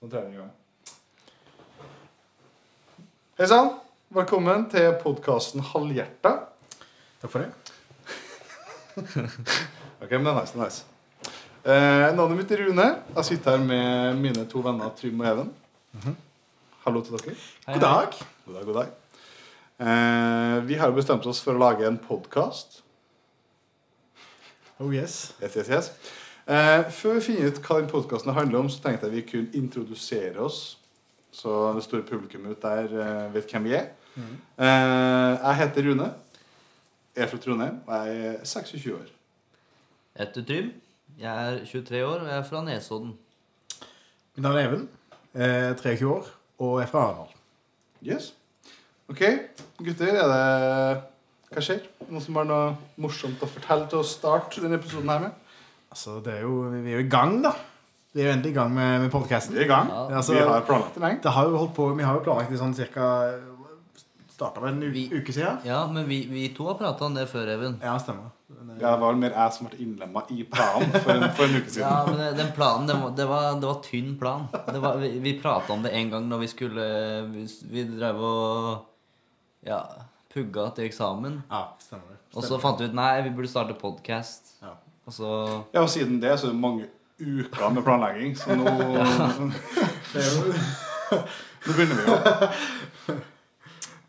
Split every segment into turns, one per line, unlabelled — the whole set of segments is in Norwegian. Nå tar jeg den i gang. Hei sann. Velkommen til podkasten Halvhjerta.
Takk for det.
Ok, men det er nice, det er nice. Eh, navnet mitt er Rune. Jeg sitter her med mine to venner Trym og Even. Hallo til dere.
Mhm. God dag.
God dag, god dag. Eh, vi har jo bestemt oss for å lage en podkast.
Oh yes.
Yes, yes, yes. Eh, før vi finner ut hva den podkasten handler om, så tenkte jeg vi kunne introdusere oss. Så det store publikummet ut der eh, vet hvem vi er. Eh, jeg heter Rune. Jeg er fra Trondheim, og jeg er 26 år.
Jeg heter Trym. Jeg er 23 år, og jeg er fra Nesodden.
Mitt navn er Even. Eh, 23 år og er fra Arendal.
Yes. Ok, gutter, er det Hva skjer? Noen som har noe morsomt å fortelle til å starte denne episoden her med?
Altså, det er jo, vi er jo i gang, da. Vi er jo endelig i gang med, med podkasten.
Vi er i gang.
Ja.
Altså,
vi har planlagt det lenge.
det har jo holdt på, vi har jo planlagt det sånn cirka Starta vel en u
Vi-
uke siden?
Ja, men vi, vi to har prata om det før, Even.
Ja, stemmer. Men, eh,
Ja, det var vel mer jeg som ble innlemma i planen for en, for en uke siden.
Ja, men det- Den planen, det var, det var, det var tynn plan. Det var, vi vi prata om det en gang når vi skulle Vi, vi drev og ja, pugga til eksamen.
ja, stemmer det.
Og så fant vi ut nei, vi burde starte podkast.
Ja.
Og så
Ja, og siden det så er det mange uker med planlegging, så nå, nå
Det er jo,
begynner vi jo.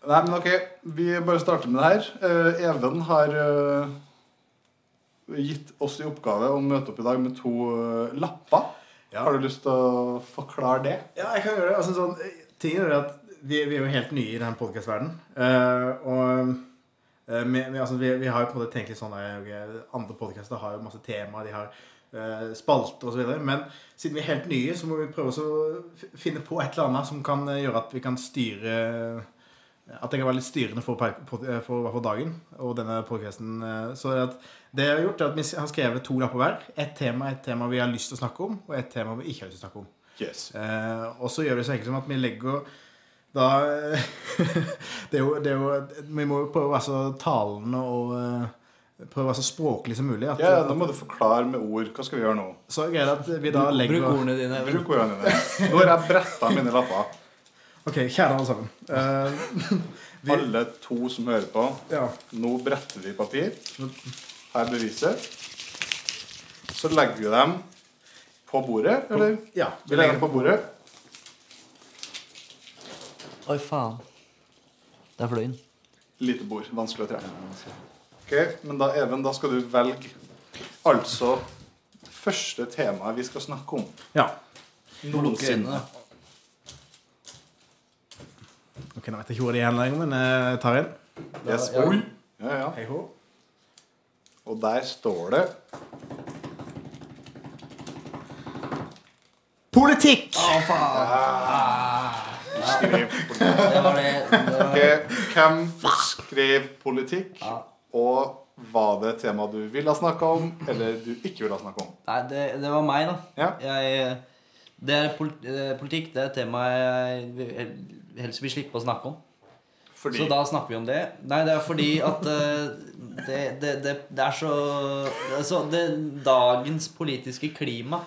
Nei, men ok, vi bare starter med det her. Eh, Even har eh, gitt oss i oppgave å møte opp i dag med to eh, lapper.
Ja.
Har du lyst til å forklare det?
Ja, jeg kan gjøre det. Altså, sånn, eh, tingen er det at vi, vi er jo helt nye i den podkastverdenen. Uh, og eh, vi, vi, altså, vi, vi har jo på en måte tenkt litt sånn eh, ok, Andre podkaster har jo masse tema, de har uh, spalter osv. Men siden vi er helt nye, så må vi prøve å f- finne på et eller annet som kan eh, gjøre at vi kan styre eh, At det kan være litt styrende for, per- pod- eh, for, for dagen og denne podkasten. så det, at det jeg har gjort, er at vi har skrevet to lapper hver. Ett tema, et tema vi har lyst til å snakke om, og et tema vi ikke har lyst til å snakke om.
Yes.
Eh, og så gjør vi det så enkelt som at vi legger da det, er jo, det er jo Vi må jo prøve å være så talende og eh, prøve å være så språklig som mulig. At,
Ja, da må du forklare med ord. Hva skal vi gjøre nå?
så er greia at vi da
Bruk
legger
ordene dine, Even.
Bruk ordene dine. Nå har jeg bretta mine lapper.
Ok, kjære alle sammen. Eh, vi,
Alle to som hører på.
ja,
Nå bretter vi papir. Her er beviset. Så legger vi dem på bordet, eller?
ja,
Vi legger dem på bordet.
Oi, faen. Der fløy den.
Lite bord. Vanskelig å treffe. Ok, Men da, Even, da skal du velge altså første temaet vi skal snakke om.
ja.
Noensinne.
Ok, Nå vet jeg ikke hvor det er lenger, men eh, jeg tar en.
Yes.
Ja, ja.
Oi. Ja, ja.
Hei hå.
Og der står det
Politikk!
Å, faen.
Ah.
Skriv politikk.
Ah. Det var det. det var...
Ok, Hvem skrev politikk?
Ja.
Og var det tema du ville ha snakka om, eller du ikke ville ha snakka om?
Nei, det, det var meg, da.
Ja.
Jeg, det er polit, eh, politikk. Det er et tema jeg vil- helst vil slippe å snakke om.
Fordi
Så da snakker vi om det. Nei, det er fordi at eh, det, det, det, det er så altså, det, Dagens politiske klima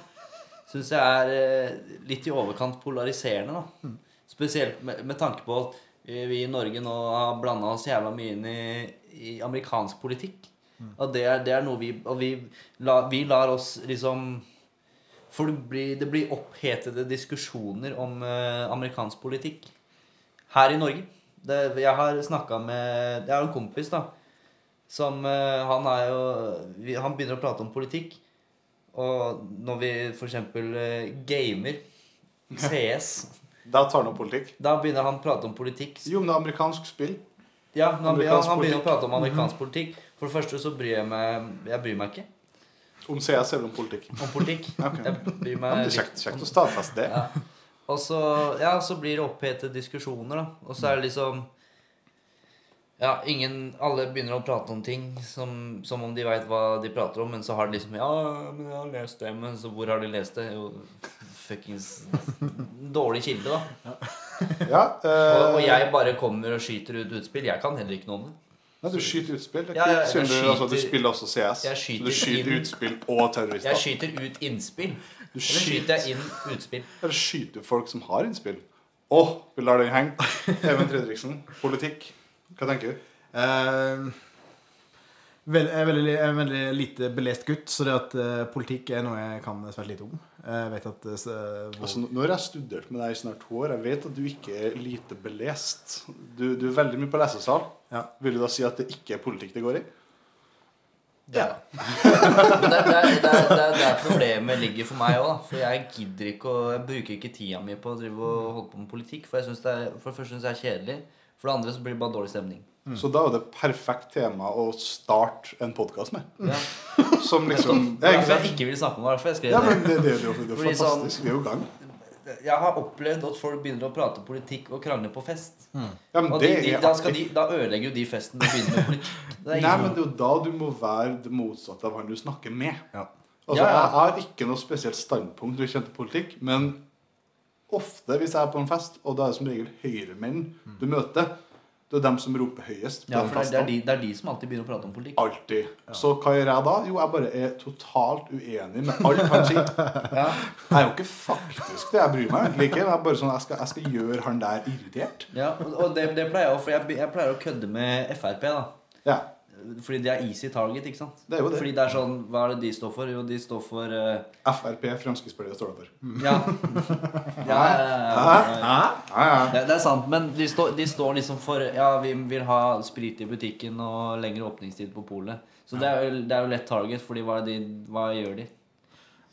syns jeg er eh, litt i overkant polariserende. da. Spesielt med, med tanke på at eh, vi i Norge nå har blanda oss jævla mye inn i, i amerikansk politikk. At det er, det er noe vi Og vi, la, vi lar oss liksom For det blir, det blir opphetede diskusjoner om eh, amerikansk politikk her i Norge. Det, jeg har snakka med Jeg har en kompis, da. Som eh, Han er jo vi, Han begynner å prate om politikk. Og når vi f.eks. Uh, gamer CS,
Da tar han opp politikk.
da begynner han å prate om politikk.
Jo, men det er amerikansk spill.
Ja, han, han
Amerikansk politikk. Mhm.
begynner å prate om amerikansk politikk. For det første så bryr jeg meg Jeg bryr meg ikke
Om CS eller om politikk.
om politikk.
Ok.
Jeg bryr
Ja, men
meg
det er
litt
kjekt, kjekt å stadfeste det.
Ja. Og så, ja, så blir det opphetede diskusjoner, da. Og så er det liksom Ja, ingen Alle begynner å prate om ting som, som om de veit hva de prater om, men så har de liksom Ja, men jeg har lest det, men så hvor har de lest det? Jo, fuckings Dårlig kilde, da.
Ja,
Og, og
eh,
jeg bare kommer og skyter ut utspill. Jeg kan heller ikke noe om det.
Nei, du skyter utspill. Det er
Ja,
ikke
ja, jeg
synd du, altså, du
skyter-
spiller også CS. Så
jeg skyter
du skyter
inn-
utspill og terrorister.
Jeg skyter ut innspill.
du
Eller skyter jeg inn utspill?
Eller skyter du folk som har innspill. Å, vi lar den henge. Even Fredriksen, politikk. Hva tenker du?
Eh, vel, jeg, er veldig, jeg er en veldig lite belest gutt, så det at eh, politikk er noe jeg kan svært lite om. Jeg vet at eh, s- eh, hvor-
Altså, nå har jeg studert med deg i snart to år. Jeg vet at du ikke er lite belest. Du, du er veldig mye på lesesal.
Ja.
Vil du da si at det ikke er politikk det går i?
Ja. Men det er der, der, der, der problemet ligger for meg òg. For jeg gidder ikke å Jeg bruker ikke tida mi på å drive og holde på med politikk. For, jeg synes det er, for det første syns jeg det er kjedelig. For det andre så blir det bare dårlig stemning.
Så da er det perfekt tema å starte en podkast med.
Ja.
Som liksom
Det er derfor jeg ikke vil snakke om det. Derfor jeg skrev
Ja,
det.
men det, det, er jo- det er
Fordi sånn-
fantastisk. Vi er jo i gang.
Jeg har opplevd at folk begynner å prate politikk og krangle på fest.
Ja, men
Og de,
det
de,
er
da, skal
artig.
de, da ødelegger jo de festen med å begynne med politikk. Det er
Nei,
ingen-
men det er jo da du må være det motsatte av han du snakker med.
Ja.
Altså,
Ja, ja.
Jeg har ikke noe spesielt standpunkt når det kommer til politikk, men ofte hvis jeg er på en fest, og da er det som regel høyremenn du møter, det er dem som roper høyest på
Mm. ja,
den
for det er, det, er
festen.
de, det er de som alltid begynner å prate om politikk.
Alltid. Så hva gjør jeg da? Jo, jeg bare er totalt uenig med alt han sier.
Ja.
Jeg er jo ikke faktisk det, jeg bryr meg egentlig ikke. Jeg er bare sånn, jeg skal, jeg skal gjøre han der irritert.
Ja, og- og det, det pleier jeg også, for jeg, jeg pleier å kødde med Frp. da
Ja,
Fordi de er easy target. ikke sant?
Det er jo det.
Fordi det er sånn, Hva er det de står for? Jo, de står for eh,
FRP, Fremskrittspartiet står det for.
Ja. ja, Mm. ja, ja, ja.
Ja, ja.
Det, det er sant, men de, står- de står liksom for Ja, vi vil ha sprit i butikken og lengre åpningstid på polet. Så det, er jo, det er jo lett target, fordi hva, er de, hva gjør de?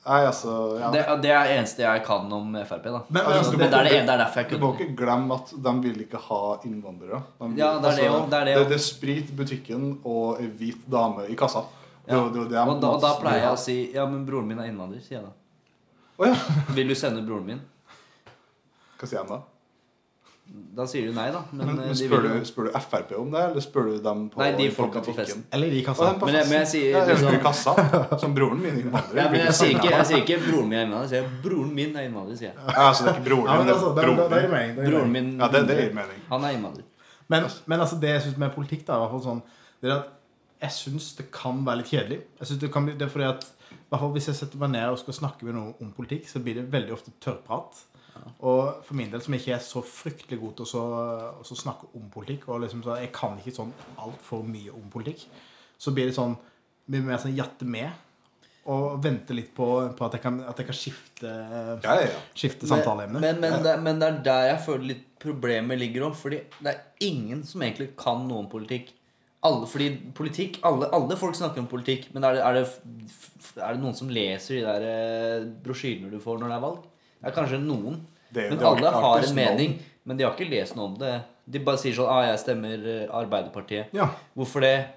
Nei, altså, ja.
Det, det er det eneste jeg kan om Frp, da.
Men- men
Altså,
altså,
det,
det-
er det, ene- det er derfor jeg
Du må
kunne
ikke glemme at de vil ikke ha innvandrere. De vil, altså,
Ja, det er det jo, det er det jo.
det er sprit i butikken og ei hvit dame i kassa. Det, er
Ja.
jo- det, er jo det
og da, og da pleier jeg å si Ja, men broren min er innvandrer, sier jeg da.
Å ja.
Vil du sende broren min?
Hva sier de da?
Da sier du nei, da. Men,
Men,
eh,
men
de
spør,
vil jo-
du, spør du Frp om det, eller spør du dem på
Nei, de
på
folka på
butikken?
festen.
Eller de
Og dem
kassa.
på
Men jeg- men jeg
festen.
sier
Ja,
liksom-
i kassa, som broren min innvandrer.
Ja, men
vil
jeg sier,
sende
ikke,
dem.
jeg sier ikke 'broren min er innvandrer', jeg sier 'broren min er innvandrer'. sier jeg
Ja, altså, det er ikke broren
Ja,
din,
men
det
altså,
er
da, da, da er det
broren din.
mening, da er det
Broren
mening.
min
Ja, det, det gir mening.
Han er innvandrer.
Men, men altså, det jeg syns med politikk, da, er i hvert fall sånn det er at jeg syns det kan være litt kjedelig. Jeg synes det, kan bli, det er fordi at i hvert fall Hvis jeg setter meg ned og skal snakke med noen om politikk, så blir det veldig ofte tørrprat. Og for min del, som ikke er så fryktelig god til å så- å så snakke om politikk og liksom så, Jeg kan ikke sånn altfor mye om politikk. Så blir det sånn mye mer sånn jatte med og vente litt på, på at, jeg kan, at jeg kan skifte,
Ja, ja, ja.
skifte
Men,
samtaleemne.
men, men, det, men det er der jeg føler litt problemet ligger òg. Fordi det er ingen som egentlig kan noe om politikk. Alle, fordi politikk, alle, alle folk snakker om politikk, men er det, er, det, f- f- er det noen som leser de der eh, brosjyrene du får når det er valg? Det er kanskje noen.
Det er jo-
men
det er
alle
alltid-
har
alltid
en mening, men de har ikke lest noe om det. De bare sier sånn ah, 'Jeg stemmer eh, Arbeiderpartiet'.
Ja.
Hvorfor det?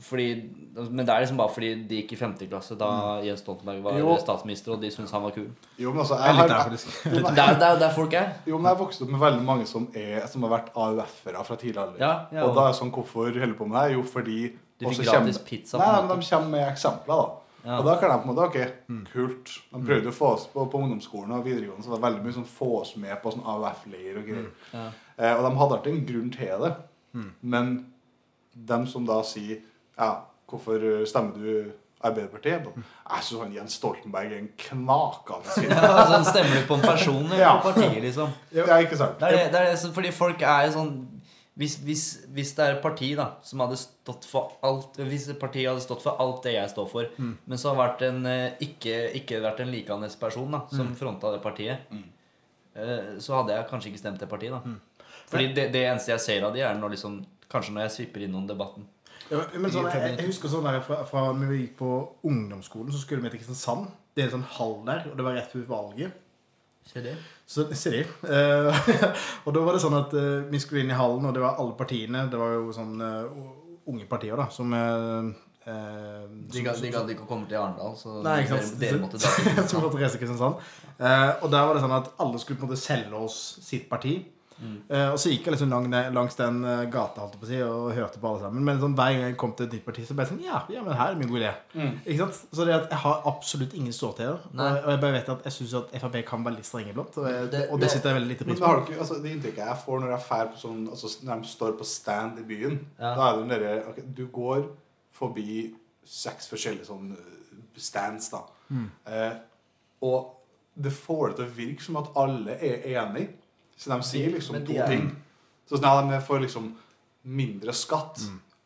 Fordi, men det er liksom bare fordi de gikk i femte klasse da Jens Stoltenberg var
Mm. Jo.
statsminister, og de syntes han var kul.
Jo, men altså,
Jeg
jeg
er litt der,
har,
faktisk.
Det er det er jo der folk er.
Jo, men jeg har vokst opp med veldig mange som, er, som har vært AUF-ere fra tidlig alder.
Ja, ja,
og da er det sånn, hvorfor holder du på med det? her? Jo, fordi
Du fikk
også
gratis
kommer-
pizza på
Nei, nei,
en
men de kommer med eksempler, da.
Ja. Mm.
Og da kan de på en måte, ok, kult. De prøvde å få oss på, på ungdomsskolen og videregående, så det var veldig mye sånn få oss med på sånn AUF-leir og greier.
Mm, Ja. Mm.
Eh, og de hadde alltid en grunn til det. Men dem som da sier, ja, hvorfor eh, stemmer du Arbeiderpartiet? Da, Jeg synes han Jens Stoltenberg er en knakende sin.
Ja, altså, stemmer du på en person eller
Ja.
på partiet, liksom?
Ja, ikke sant?
Det er det, det er det, som- fordi folk er jo sånn hvis, hvis, hvis det er et parti da som hadde stått for alt Hvis et parti hadde stått for alt det jeg står for, men så har vært en eh, ikke, ikke vært en likandes person da som fronta det partiet, eh, så hadde jeg kanskje ikke stemt det partiet. da Fordi det, det eneste jeg ser av de, er når liksom Kanskje når jeg svipper innom debatten.
Ja, men- men sånn, jeg, jeg husker sånn der fra, fra når vi gikk på ungdomsskolen, så skulle vi til Kristiansand. Det er en sånn hall der, og det var rett før valget. Så ser de. Eh, og da var det sånn at eh, vi skulle inn i hallen, og det var alle partiene. Det var jo sånn eh, unge partier, da, som eh, eh,
De gadd de gadd ikke å komme til Arendal, så
Nei, ikke sant.
dere, dere måtte dra. til
som måtte reise til Kristiansand. Eh, og der var det sånn at alle skulle på en måte selge oss sitt parti.
Mm.
Eh, og så gikk jeg liksom lang, langs den eh, gata holdt jeg på å si, og hørte på alle sammen. Men sånn, hver gang jeg kom til et nytt parti, så ble jeg sånn Ja, ja men her er det mye god idé.
Mm.
Ikke sant? Så det at jeg har absolutt ingen ståteder. Og,
Nei.
og jeg bare vet at jeg syns at Frp kan være litt strenge iblant. Og, jeg-
Det-
og
det-
det setter jeg veldig lite
Men
pris
da
på.
har du ikke, altså, Det inntrykket jeg får når jeg fær på sånn, altså, når de står på stand i byen
Ja.
Da er det den derre ok, Du går forbi seks forskjellige sånn eh, stands, da. Eh, og det får det til å virke som at alle er enig. Så de sier liksom
Men de
to
er-
ting. Så sånn, ja, de får liksom mindre skatt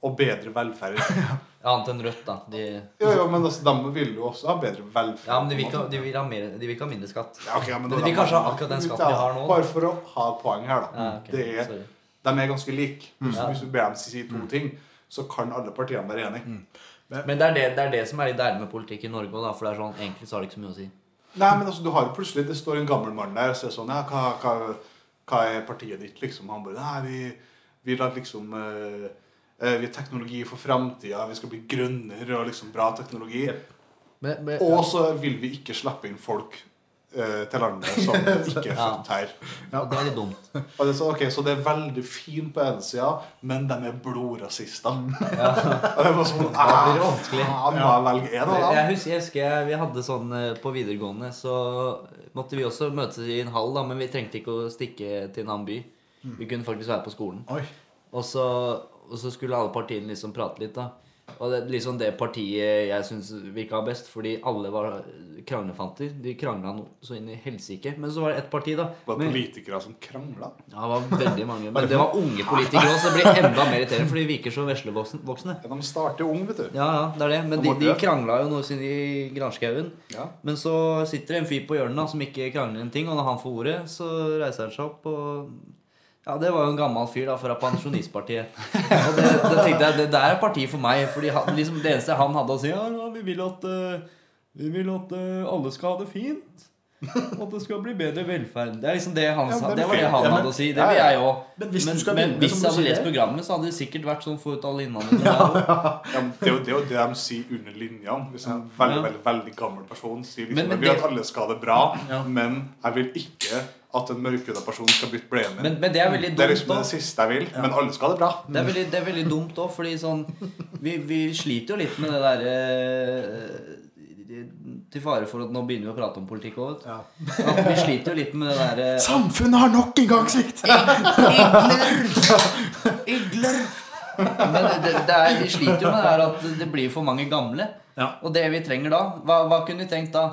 og bedre velferd.
Annet enn Rødt, da. De,
Jo, jo, men altså, de vil jo også ha bedre velferd.
ja, men de vil, ikke,
på
ha-
en måte.
de, vil ha mer, de vil ikke ha mindre skatt.
Ja, ok, ja,
Men
da-
de vil
da-
kanskje ha akkurat den skatten de har nå, da.
Bare for å ha et poeng her, da.
Ja, ok,
Det er
sorry.
de er ganske like. Hvis,
Ja.
hvis du ber dem si to ting, så kan alle partiene være enige.
Men det er det, det er det som er litt deilig med politikk i Norge òg, da. For det er sånn, egentlig så har det ikke så mye å si.
Nei, men altså, du har jo plutselig Det står en gammel mann der og sier sånn ja, hva, hva, hva er partiet ditt, liksom? Han bare Nei, vi, vi lar liksom eh, eh, Vi er teknologi for framtida, vi skal bli grønnere og liksom bra teknologi.
Men, men,
Og så vil vi ikke slippe inn folk eh, til landet som ikke er født her.
ja, det er litt dumt.
Og det er så, ok, så det er veldig fint på ene sida, men de er blodrasister.
Ja.
Og det var sånn
Ja, det blir
«Ah,
vanskelig.
faen, Må jeg velge en av dem?
Jeg husker, jeg husker jeg, vi hadde sånn eh, på videregående, så måtte vi også møtes i en hall, da, men vi trengte ikke å stikke til en annen by. Vi kunne faktisk være på skolen.
Oi.
Og så, og så skulle alle partiene liksom prate litt, da. Og det er liksom det partiet jeg syns virka best, fordi alle var kranglefanter. De krangla så inn i helsike. Men så var det ett parti, da.
Det var
Men-
politikere som krangla.
ja, det var veldig mange. Men det var unge politikere òg, så det blir enda mer irriterende, for de virker så veslevoksne.
Ja, de starter ung, vet du.
Ja, ja, det er det. Men de, de krangla jo noe siden i granskauen.
Ja.
Men så sitter det en fyr på hjørnet da, som ikke krangler en ting, og når han får ordet, så reiser han seg opp og Ja, det var jo en gammel fyr da, fra Pensjonistpartiet. Og det, det tenkte jeg, det der er partiet for meg, fordi han, liksom, det eneste han hadde å si, ja, ja, vi vil at, eh, vi vil at eh, alle skal ha det fint. Og at det skal bli bedre velferd. Det er liksom det han
Ja,
sa.
det er
Det var
fint.
det han
Ja, men-
hadde å si. Det
ja,
vil
ja.
jeg òg.
Men hvis du
men,
skal
men
vinne, så
hvis
må
jeg
du
hadde
si
lest
det.
programmet, så hadde det sikkert vært sånn få ut alle innvandrere.
Ja, men det er jo det, er jo det de sier under linjene. Hvis en veldig
Ja.
veldig, veldig gammel person sier
Men-
liksom, jeg
men
vil
det-
at alle skal ha det bra,
Ja.
men jeg vil ikke at en mørkhuda person skal bytte bleien min.
Men, men det er veldig
Det er
dumt
liksom det
òg.
siste jeg vil, men alle skal ha det bra.
Det er veldig, det er veldig dumt òg, fordi sånn vi, vi sliter jo litt med det derre Til fare for at nå begynner vi å prate om politikk òg,
Ja.
vet du. At Vi sliter jo litt med det eh, derre
Samfunnet har nok en gang svikt!
Igler! Igler! Men det, det er, vi sliter jo med det her at det blir for mange gamle.
Ja.
Og det vi trenger da Hva, hva kunne vi tenkt da?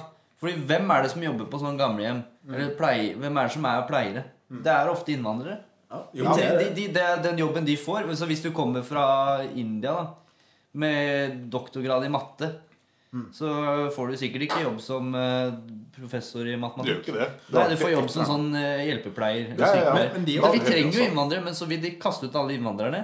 Fordi hvem er det som jobber på sånn gamlehjem? Eller pleie, hvem er det som er pleiere?
Mm.
Det er ofte innvandrere.
Ja,
De,
jo, det er
de,
det.
de, det er den jobben de får. Så hvis du kommer fra India da med doktorgrad i matte,
Mm.
så får du sikkert ikke jobb som eh, professor
Du
i
gjør jo
matematikk.
ikke det.
Nei, du får jobb som sånn eh, hjelpepleier. eller
Ja, ja, ja.
sykepleier.
Men de er
Men
jo
vi trenger jo
også.
innvandrere, men så vil de kaste ut alle innvandrerne.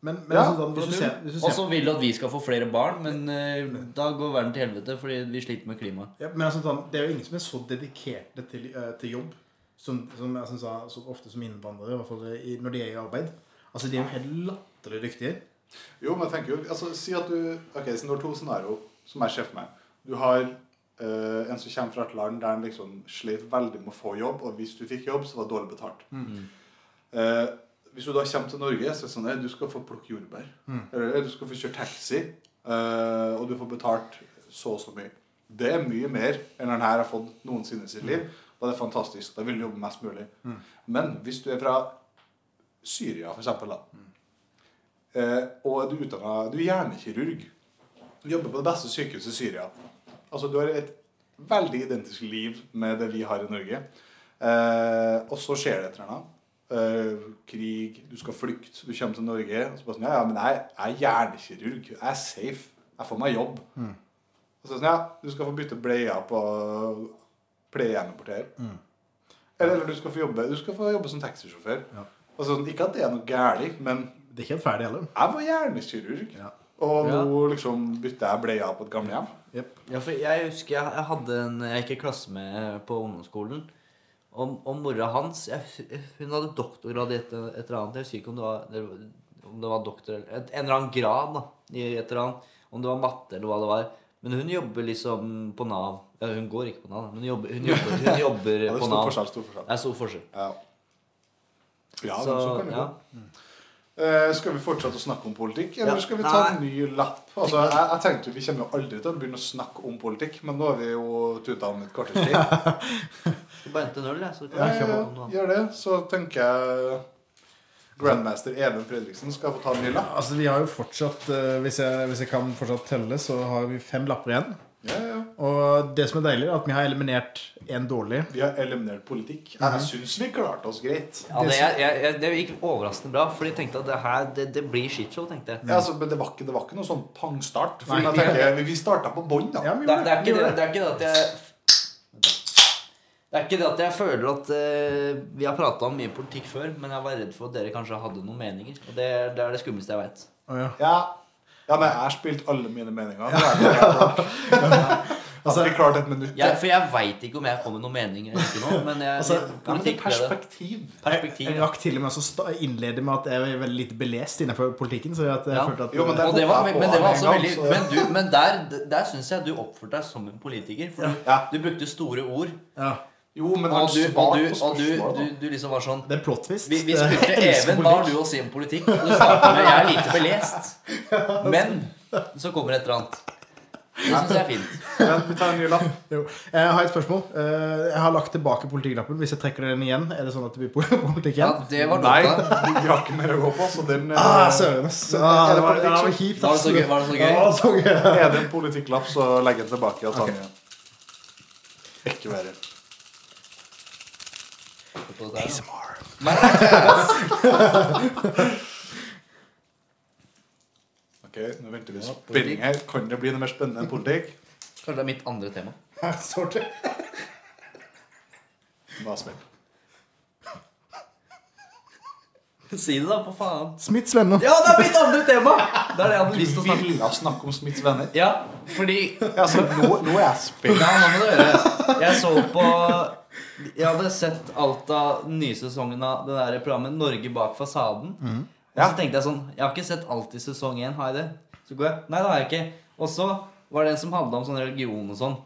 Men, men
Ja,
altså, sånn, hvis du ser, hvis du
Og
ser
så vil de at vi skal få flere barn, men eh, da går verden til helvete fordi vi sliter med klimaet.
Ja, men altså, sånn, det er jo ingen som er så dedikerte til, eh, til jobb som, som jeg synes, er så ofte som innvandrere, i hvert fall eh, i, når de er i arbeid. Altså, De er jo helt latterlig dyktige.
Jo, men jeg tenker jo altså, Si at du Ok, så du har to scenarioer som jeg ser for meg. Du har eh, en som kommer fra et land der han liksom slet veldig med å få jobb, og hvis du fikk jobb, så var det dårlig betalt. Eh, hvis du da kommer til Norge, så er det sånn at du skal få plukke jordbær. Eller du skal få kjøre taxi, eh, og du får betalt så og så mye. Det er mye mer enn han her har fått noensinne i sitt liv. Og det er fantastisk. Da vil du jobbe mest mulig. Men hvis du er fra Syria, for eksempel, da, Eh, og er du utdannet, du er hjernekirurg. Du jobber på det beste sykehuset i Syria. Altså, du har et veldig identisk liv med det vi har i Norge. Eh, og så skjer det et eller annet. Eh, krig, du skal flykte, du kommer til Norge. Og så bare sånn, ja, ja, men jeg, jeg er hjernekirurg. Jeg er safe. Jeg får meg jobb. Og så sånn, ja, du skal få bytte bleier på pleiehjemmeporter. Eller, eller du, skal få jobbe, du skal få jobbe som taxisjåfør.
Ja.
Og så sånn, ikke at det er noe gærent, men
Det er ikke helt ferdig heller.
jeg var hjernekirurg.
Ja.
Og
Ja.
nå liksom bytter jeg bleia på et gamlehjem.
Jep.
Ja, for jeg husker jeg, jeg hadde en jeg gikk i klasse med på ungdomsskolen. Og, og mora hans jeg, hus- Hun hadde doktorgrad i et, et eller annet. Jeg husker ikke om det var, eller om det var doktor eller et, En eller annen grad da, i et eller annet. Om det var matte eller hva det var. Men hun jobber liksom på Nav. Ja, hun går ikke på Nav, da, men hun jobber, hun jobber, hun jobber
Ja, det er
på
stor
Nav.
forskjell, stor forskjell.
Det er stor forskjell.
Ja. Ja,
Så,
men sånn kan det
ja.
gå. Eh, skal vi fortsette å snakke om politikk, eller
Ja.
skal vi ta en
Nei.
ny lapp? Altså, jeg, jeg tenkte jo, Vi kommer jo aldri til å begynne å snakke om politikk, men nå har vi jo tuta om et kvarters tid.
Skal bare hente en øl, jeg. Så
Ja,
kan jeg
ja,
snakke om
ja,
noe annet.
gjør det. Så tenker jeg Grandmaster Even Fredriksen skal få ta en ny lapp.
Altså, vi har jo fortsatt eh, hvis, jeg, hvis jeg kan fortsatt telle, så har vi fem lapper igjen.
Ja, ja.
Og det som er deilig, er at vi har eliminert én dårlig.
Vi har eliminert politikk. Jeg syns vi klarte oss greit.
Ja, det, jeg, jeg, jeg, det gikk overraskende bra, Fordi jeg tenkte at det her det, det blir shitshow. tenkte jeg
Ja, altså, men det var, ikke, det var ikke noe sånn pangstart. For
Nei,
jeg
vi-
tenker, vi, vi starta på bånn, da.
Ja, vi
det,
gjorde
det, er ikke
vi
det,
gjorde
det er ikke det at jeg Det er ikke det at jeg føler at eh, vi har prata om mye politikk før, men jeg var redd for at dere kanskje hadde noen meninger. Og det, er- det er det skumleste jeg veit.
Å, ja.
Ja. ja, men jeg har spilt alle mine meninger. At vi klarte et minutt.
Jeg, for jeg veit ikke om jeg kom med noen meninger eller ikke nå, men jeg,
Altså,
Ja, men det er
politikk ble det.
perspektiv.
Perspektiv.
Jeg
ja.
rakk til og med å sta- innlede med at jeg er veldig lite belest innenfor politikken. Så at jeg
Ja.
følte at
Jo, men det-
Og det var,
jeg på
men det var altså
en gang,
veldig
så-
Men, du, men der, der syns jeg du oppførte deg som en politiker. For du,
Ja.
du brukte store ord.
ja,
Jo, men han
Og du, og du,
svarte på
og du,
spørsmålet.
du,
da.
du liksom var sånn
Det er en plot twist.
Vi, vi
Det-
spurte
jeg elsker
Even hva har du
politikk.
å si om politikk. Og du starter med 'jeg er lite belest'. Men så kommer et eller annet. Det syns jeg er fint.
Men vi tar en ny lapp.
Jo. Jeg har et spørgsmål. Eh, Jeg har lagt tilbake politikklappen. Hvis jeg trekker den igjen, er det sånn at det blir po- politikk
Ja,
igjen?
det var
Nei,
dumt. da.
vi har ikke mer å gå på, så den eh,
Ah, Søren, ass.
Ah,
Ah, det var,
det
det
var
var kjipt.
Var det
ass.
så gøy? Var det så gøy?
Ja, det var så gøy.
Er det en politikklapp, så legg den tilbake og ta den igjen. Ikke verre. Ok, nå venter vi i spenning her. Kan det bli noe mer spennende enn politikk?
Kanskje det er mitt andre tema.
Her står det.
Hva smeller?
Si det, da, for faen.
Smiths venner.
Ja, det er mitt andre tema! Det er det jeg hadde lyst til å snakke om.
Ville ha snakket om Smiths venner.
Ja, fordi
Ja, så nå, nå er jeg spent.
Nei, hva må du gjøre? Jeg så på Jeg hadde sett alt av nye sesongen av det der programmet Norge bak fasaden.
Mhm.
Og så tenkte jeg sånn Jeg har ikke sett alt i sesong én, har jeg det? Så går jeg Nei, det har jeg ikke. Og så var det en som handla om sånn religion og sånn.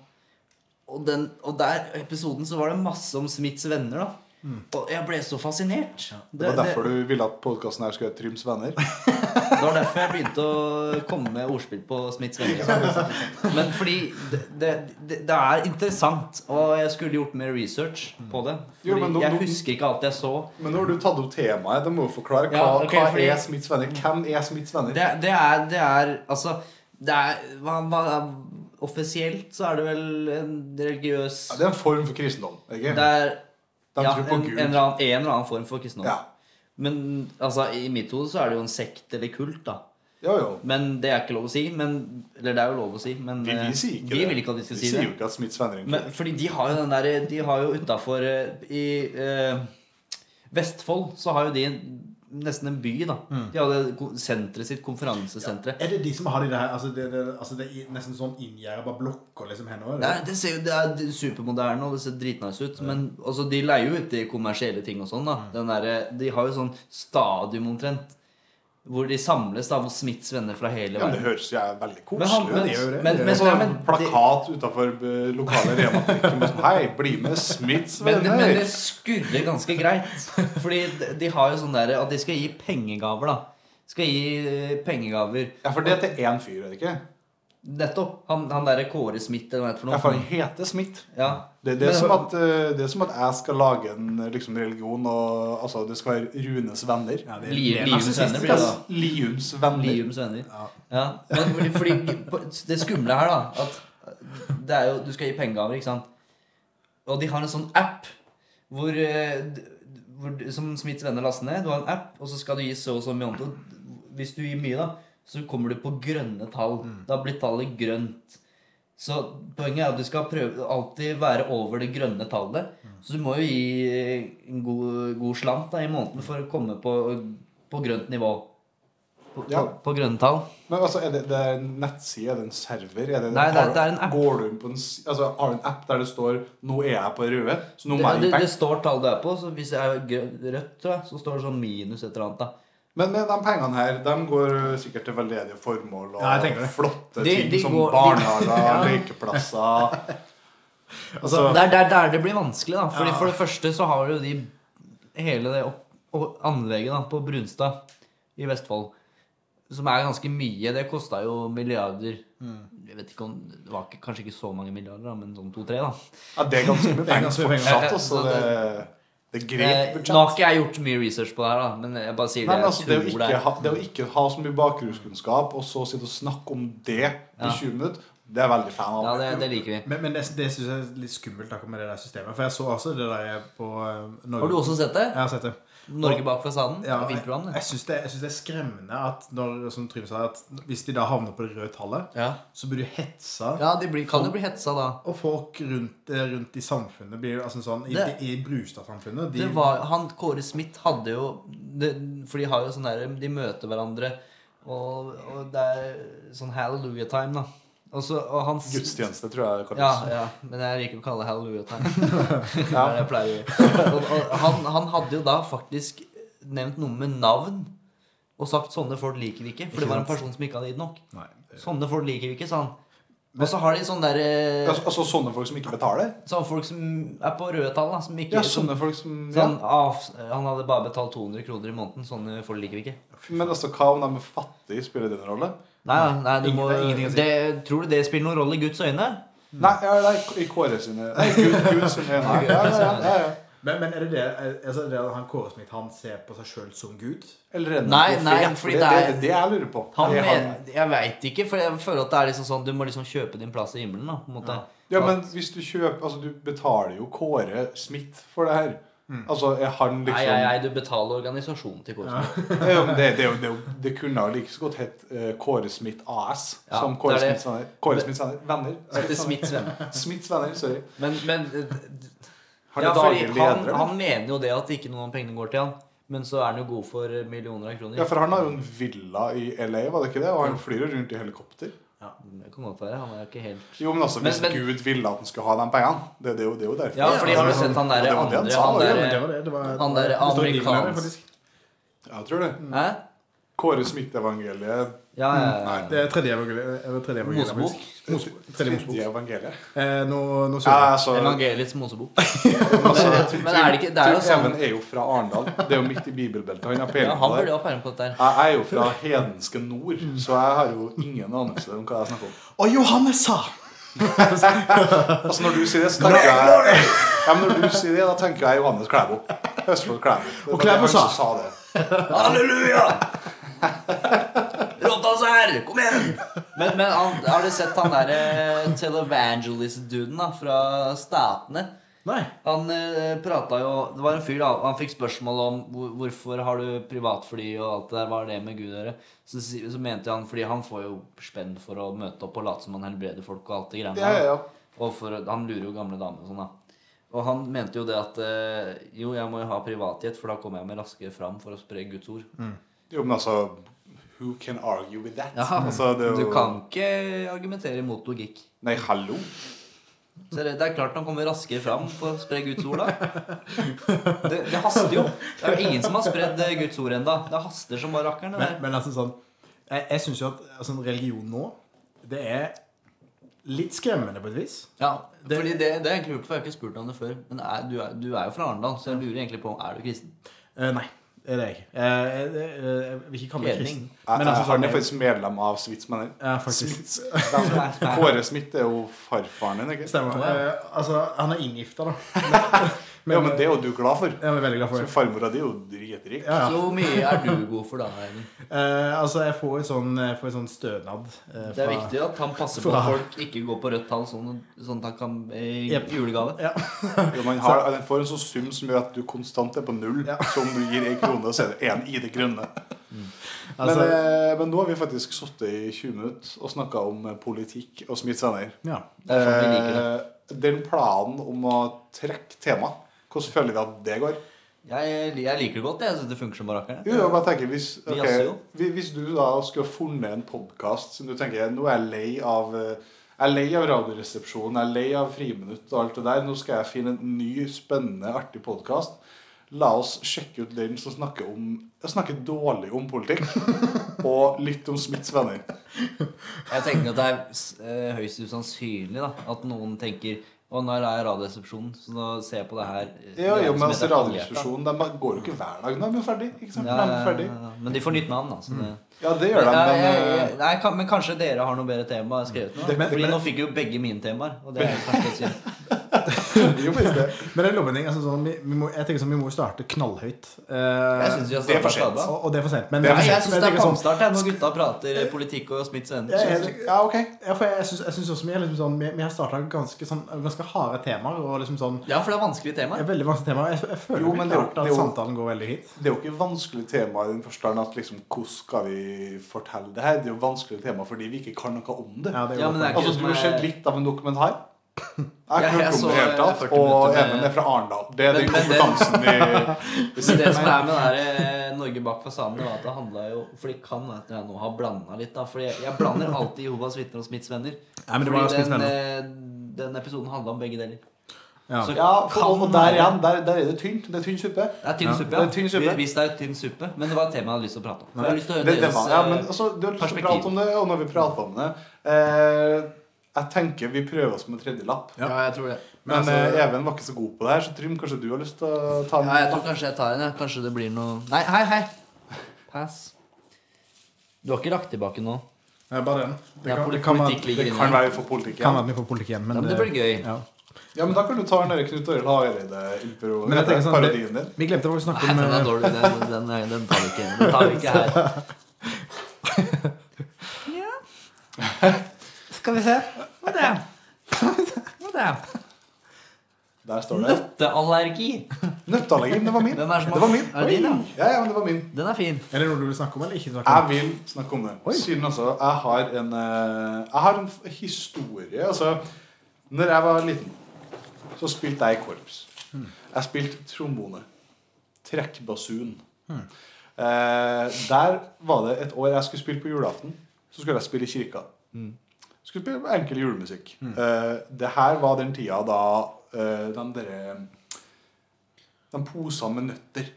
Og, den, og der episoden så var det masse om Smiths venner, da. Og jeg ble så fascinert.
Mm. Det var derfor du ville at podkasten her skulle hete Tryms venner.
det var derfor jeg begynte å komme med ordspill på Smiths venner. Men fordi det, det, det, det er interessant, og jeg skulle gjort mer research på det.
Jo,
Fordi
men nå- nå-
jeg husker ikke alt jeg så.
Men nå har du tatt opp temaet. Da må du forklare hva,
Ja, ok,
hva
fordi-
er Smiths venner. Hvem er Smiths venner?
Det, det er Det er altså det er, hva, hva, Offisielt så er det vel en religiøs
Ja, det er en form for kristendom. Ikke?
Det er
De
ja,
tror på
en,
Gud.
en, eller annen, en eller annen form for kristendom.
Ja.
Men altså, i mitt hode så er det jo en sekt eller kult, da.
Jo, jo.
Men det er ikke lov å si. Men, eller det er jo lov å si, men
Vi,
eh,
vi sier ikke
vi
det.
vil ikke at vi skal si
sier
det.
jo ikke at Smiths venner er en
Men, fordi de har jo den der De har jo utafor I eh, Vestfold så har jo de en- nesten en by, da.
Mm.
De hadde ko- senteret sitt, konferansesenteret.
Er det de som har de der altså det, det, altså det er nesten sånn inngjerda blokker liksom her nå?
Nei, det ser jo det er supermoderne og det ser dritnice ut. Men altså, de leier jo ut de kommersielle ting og sånn. da
Mm.
den der, De har jo sånn stadium omtrent. Hvor de samles, da, hvor Smiths venner fra hele
Ja, det
verden
høres jo jeg veldig
Men han-
koselig
men-
ut.
jo det.
men-
Det er
men-
Så
nei,
en
men det-
plakat utafor lokale Rema-butikken med sånn Hei, bli med Smiths
Men,
venner!
men det skurrer ganske greit. Fordi de- de har jo sånn der at de skal gi pengegaver, da. Skal gi eh, pengegaver.
Ja, for det er til én fyr, er det ikke?
Nettopp. Han, han derre Kåre Smith eller hva det heter
Ja, for
for
han
noe.
heter Smith.
Ja.
Det, det, er
Men-
som at, eh, det er som at jeg skal lage en eh, liksom, religion, og altså, det skal være Runes venner.
Ja, det er-
Li-
det er
Liums
narsissistisk,
venner blir det
Yes,
da.
Liums venner.
Liums venner.
Ja.
Ja. Men fordi, fordi på- det skumle her, da at det er jo, Du skal gi pengegaver, ikke sant? Og de har en sånn app hvor, eh, d- hvor du- som Smiths venner laster ned. Du har en app, og så skal du gi så og så mye. om det. Hvis du gir mye, da, så kommer du på grønne tall.
Mm.
Da blir tallet grønt. Så poenget er at du skal prøve alltid være over det grønne tallet.
Mm.
Så du må jo gi eh, en god, god slant da, i måneden for å komme på, på grønt nivå. På,
Ja.
på, på grønne tall.
Men altså, er det, det er en nettside? Er det en server? Er det,
Nei, det er-
har du-
det er en app.
Går du inn på en, s- altså, har du en app der det står 'Nå er jeg på det røde', så nå må
Det,
jeg gi
det,
penger?
det står tall du er på, så hvis det er grø- rødt, tror jeg, så står det sånn minus et eller annet. da
Men eh, de pengene her de går sikkert til veldedige formål og
Ja, jeg tenker det.
flotte
De-
ting
de
som
går- de-
barnehager, lekeplasser altså,
Det er der, der det blir vanskelig, da. Fordi For det første så har du de hele det opp, og anlegget da, på Brunstad i Vestfold, som er ganske mye Det kosta jo milliarder.
Mm.
Jeg vet ikke om, Det var ikke, kanskje ikke så mange milliarder, da, men sånn to-tre. da
Ja, det er ganske mye
Det er
penger
ganske mye penger.
fortsatt. Altså,
Ja,
det,
ja,
det er
Eh,
greit
Nå har
budsjett.
ikke jeg gjort så mye research på det her, da men jeg bare sier
Nei, men
det
altså, det, å
jeg tror
ikke ha, det å ikke ha så mye bakgrunnskunnskap, og så sitte og snakke om det i
Ja.
20 minutter, det er jeg veldig fan av.
Ja, det, det liker vi.
Men, men det, det syns jeg er litt skummelt akkurat med det der systemet. For jeg så altså det der på eh, Norge.
Har du også sett det?
Jeg har sett det.
Norge bak fasaden?
Ja,
Ja,
jeg
Vinterland?
jeg syns det, jeg synes det er skremmende at når, som Trym sa, at hvis de da havner på det røde tallet,
Ja.
så blir du hetsa.
ja, de blir,
sånn-
kan jo bli hetsa da.
Og folk rundt, eh, rundt i samfunnet blir altså sånn I,
Det-
i Brustad-samfunnet de,
Det var, han, Kåre Smith hadde jo det, For de har jo sånn der De møter hverandre, og, og det er sånn hallelujah time, da. Og så, og han
Gudstjeneste, tror jeg det
Ja,
kalles.
ja, men jeg liker å kalle det hallelujah time. Det
Ja.
er det jeg pleier å gjøre. Og, og han, han hadde jo da faktisk nevnt noe med navn og sagt 'sånne folk liker vi ikke', for det var en person som ikke hadde gitt nok.
Nei, det-
'Sånne folk liker vi ikke', sa han. Og så har de sånne der, eh,
Altså, altså sånne folk som ikke betaler?
sånne folk som er på røde tall, da, som ikke
Ja,
som-
sånne folk som ja.
Sånn, ah, f- han hadde bare betalt 200 kroner i måneden. Sånne folk liker vi ikke.
Men altså, hva om de er fattige, spiller det noen rolle?
Nei, nei, nei du
Ingen-
må,
det er ingenting å si.
det, Tror du det spiller noen rolle i Guds øyne? Mm.
Nei, ja, nei, i Kåre sine Nei, Gud, Gud sine Nei, ja, ja, ja, ja, ja.
Men, men er det det, er- altså, er det at han Kåre Smith han ser på seg sjøl som Gud?
Eller er det
Nei,
noe
nei,
fet?
fordi
det,
det
det,
er-
det, det jeg lurer på.
Han,
Er han-
mener- jeg veit ikke, for jeg føler at det er liksom sånn du må liksom kjøpe din plass i himmelen. da på en måte.
Ja, men hvis du kjøper Altså, du betaler jo Kåre Smith for det her. Altså, er han
Mm. Nei, nei, nei,
liksom
du betaler organisasjonen til Kåre Smith.
Ja, men det, det, er jo- det, er jo- det kunne ha like så godt hett eh, Kåre Smith AS
Ja,
som Kåre
det er det.
Smiths venner. Kåre Smiths venner. venner.
Det heter Smiths venn.
Smiths venner, sorry.
Men, men eh,
Han er
ja, fordi
daglig leder,
han,
eller?
han mener jo det at ikke noen av pengene går til han. Men så er han jo god for millioner av kroner.
Ja, for han har jo en villa i LA, var det ikke det? Og han flyr jo rundt i helikopter.
Det kan godt være. Han er jo ikke helt
Jo, men altså,
Men-
hvis
men-
Gud ville at han skulle ha de pengene Det, det, er jo- det er jo derfor.
Ja, fordi har du sett han der
Og det var det
andre
han sa,
han
ja,
Ja,
der-
men det var det. det var,
Han der
det står i Bibelen,
amerikansk-
faktisk.
Ja, jeg tror det.
Hæ?
Kåre Smith-evangeliet.
Ja, ja, ja.
Mm. Nei,
Det er tredje evangeliet. eller Tredje evangeliet
Mosebok.
faktisk. Mosebok. Tredje Mosebok.
Tredje evangeliet.
Eh, nå, nå
Ja,
søker jeg.
altså,
Evangeliets mosebok.
altså
Men-
Trym-
men er det ikke- det er jo
Trym
sånn-
Even er jo fra Arendal. Det er jo midt i bibelbeltet. Han har
Ja,
peiling på
han burde
det.
jo ha peiling på dette her.
Jeg er jo
Mm.
fra hedenske nord, så jeg har jo ingen anelse om hva jeg snakker om.
Å, Johannes sa!
Altså Når du sier det, så tenker jeg ja, men når du sier det, da tenker jeg Johannes Klæbo. Østfold Klæbo. Det var
Og Klæbo
han som
sa-
det.
Halleluja! Rotta oss her! Kom igjen! Men, men han, har du sett han derre televangelist-duden da, fra Statene?
Nei.
Han eh, prata jo Det var en fyr, da. Han fikk spørsmål om hvor- hvorfor har du privatfly og alt det der. Hva har det med Gud å gjøre? Så, si- så mente han fordi han får jo spenn for å møte opp og late som han helbreder folk og alt det greiene
Ja, ja, ja.
Og for, han lurer jo gamle damer og sånn, da. Og han mente jo det at eh, jo, jeg må jo ha privathet, for da kommer jeg meg raskere fram for å spre Guds ord.
Jo, men altså Who can argue with that?
Ja,
altså, det er
Du
jo...
kan ikke argumentere mot logikk.
Nei, hallo.
Så det, det er klart han kommer raskere fram for å spre Guds ord, da. Det, det haster jo. Det er jo ingen som har spredd eh, Guds ord ennå. Det haster som bare rakkeren. det
Men,
der.
men altså sånn Jeg, jeg syns jo at altså, religion nå, det er litt skremmende på et vis.
Ja, fordi det, det er egentlig lurt, for jeg har ikke spurt om det før. Men er, du, er, du er jo fra Arendal, så jeg lurer egentlig på er du kristen.
Eh, nei, det er det ikke. Eh, jeg, jeg, jeg vil ikke kalle meg
Hedning.
kristen.
Jeg,
Men altså,
han
sånn,
er faktisk medlem av Switz Manner.
Ja, faktisk.
Kåre Smith er jo farfaren din, ikke
Stemmer. Eh, altså, han er inngifta, da.
Ja, men det er jo du glad for.
Jeg er veldig glad for
Så
det.
farmora di er jo dritrik.
Ja,
Så
ja.
hvor mye er du god for da, Eivind?
Eh, altså, jeg får en sånn, jeg får en sånn stønad. eh,
Det er
fra-
viktig at han passer på
fra-
at folk ikke går på rødt tall, sånn, sånn at han kan eh,
Jep.
julegave.
Ja.
Jo, man har, den får en sånn sum som gjør at du konstant er på null.
Ja.
Så om du gir en krone, så er det én i det grønne.
Mm.
Men,
Altså,
eh, men nå har vi faktisk sittet i 20 minutter og snakka om eh, politikk og Smiths venner.
ja.
Det er sånn vi liker det.
Eh, Den planen om å trekke tema, hvordan føler vi at det går?
Jeg, jeg liker det godt. Jeg synes det funker som barrakkeren.
Jo, jo, bare tenker, hvis,
Vi
ok,
jazzer jo.
hvis hvis du da skulle ha funnet en podkast som du tenker Nå er jeg lei av eh, jeg er lei av Radioresepsjonen, jeg er lei av Friminutt og alt det der. Nå skal jeg finne en ny, spennende, artig podkast. La oss sjekke ut den som snakker, om, snakker dårlig om politikk. Og litt om Smiths venner.
Jeg tenker at det er s- eh, høyst usannsynlig da, at noen tenker Og nå er jeg i Radioresepsjonen, så nå ser jeg på det her eh,
Ja, jo,
som
men altså,
heter Halvhjerta.
Radioresepsjonen de går jo ikke hver dag. Nå er de jo ferdig. Ikke sant?
Ja,
De er
ja,
ferdig.
ja, ja. Men de får nytt navn, da. Så det...
Ja, det gjør de,
Nei,
men
jeg-
eh,
jeg- nei, kan, men kanskje dere har noe bedre tema skrevet nå?
Det- men-
Fordi
men-
nå fikk jo begge mine temaer. Og det er jo kanskje litt synd.
det blir eh, jo faktisk det.
Men det er lovending, altså sånn, vi, vi må, jeg tenker sånn, vi må jo starte knallhøyt. Eh,
Jeg syns vi har
det er for sent.
starta.
og, og det er for sent. Men
Det er for
Nei,
sent,
jeg
men
syns det er
tenker sånn-
kampstart jeg, når gutta prater eh, politikk og Smiths venner.
Ja, ja.
Jeg- Ja, ok.
sånn, Ja, for jeg syns, jeg syns også vi, er liksom sånn, vi, vi har starta ganske, sånn, ganske harde temaer. Og liksom sånn
Ja, for det er vanskelige
det
temaer.
er Veldig mange temaer. Jeg, jeg føler
Jo,
jo,
men det er jo-
klart at
det er jo-
samtalen går veldig hit.
Det er jo ikke vanskelig tema i den forstand at liksom, hvordan skal vi fortelle det her? Det er jo vanskelig tema fordi vi ikke kan noe om det.
Ja, det er jo
Ja, men det er ikke
Altså, Du har
som
sett
er-
litt av en dokumentar. Jeg har ikke
Jeg- jeg
hørt om det i
så,
det hele tatt.
eh, 40
Og
minutter med-
Even er fra Arendal. Det er
Men-
den
men det-
kompetansen vi, vi
Men
sitter
det som
med.
er med det her, eh, Norge bak fasaden, det var at det handla jo For det kan være at jeg nå har blanda litt, da. For jeg, jeg blander alltid Jehovas vitner og Smiths venner.
Nei, men det var
Fordi
Smiths
den,
venner.
eh, den episoden handla om begge deler.
Ja.
eh, Så-
Ja, for, og- og der
Kan være-
igjen, der, der er det tynt. Det er tynn suppe.
Det er tynn
Ja.
suppe,
Det er tynn suppe.
Vi- Hvis det er tynn suppe. Men det var et tema jeg hadde lyst til å prate om. Jeg har lyst til å høre
Det, det
deres,
var, ja, men
eh,
altså, du har lyst til å
perspektiv.
prate om det, og når vi prater om det eh, Jeg tenker vi prøver oss med en tredje lapp.
Ja.
jeg tror det.
Men
Men altså-
eh, Even var ikke så god på det her, så Trym, kanskje du har lyst til å ta en
Ja, jeg tror kanskje jeg tar en. jeg. Kanskje det blir noe Nei, hei, hei! Pass. Du har ikke lagt tilbake nå?
Det er bare den.
Ja,
Det kan,
poli-
det kan,
politikk
være,
ligger
Det
inne.
kan være vi får politikk
kan
igjen.
være vi får politikk igjen. Men,
Ja, men det blir gøy.
Ja.
Ja, men da kan du ta den der Knut Arild
Men jeg tenker
Hareide-imperoen.
sånn,
Parodien din.
det- Vi glemte å snakke
Nei,
om
den er
eh,
dårlig. Den, den, er- den tar vi ikke. Den tar vi ikke her. Skal vi se. Hva det? Hva det?
Der står det.
Nøtteallergi.
Nøtteallergien, det var min.
Den er som-
det var min.
er det din, ja?
ja, ja, men det var min.
Den er fin.
Er det noe du vil snakke om, eller ikke? snakke
Jeg
om?
vil snakke om det.
Oi.
Siden altså, jeg har en, eh, jeg har en f- historie. Altså, når jeg var liten, så spilte jeg i korps.
Hmm.
Jeg spilte trombone. Trekkbasun.
Hmm.
Eh, der var det et år jeg skulle spille på julaften. Så skulle jeg spille i kirka.
Hmm.
Skulle spille enkel julemusikk. Eh, det her var den tida da eh, de derre De posene med nøtter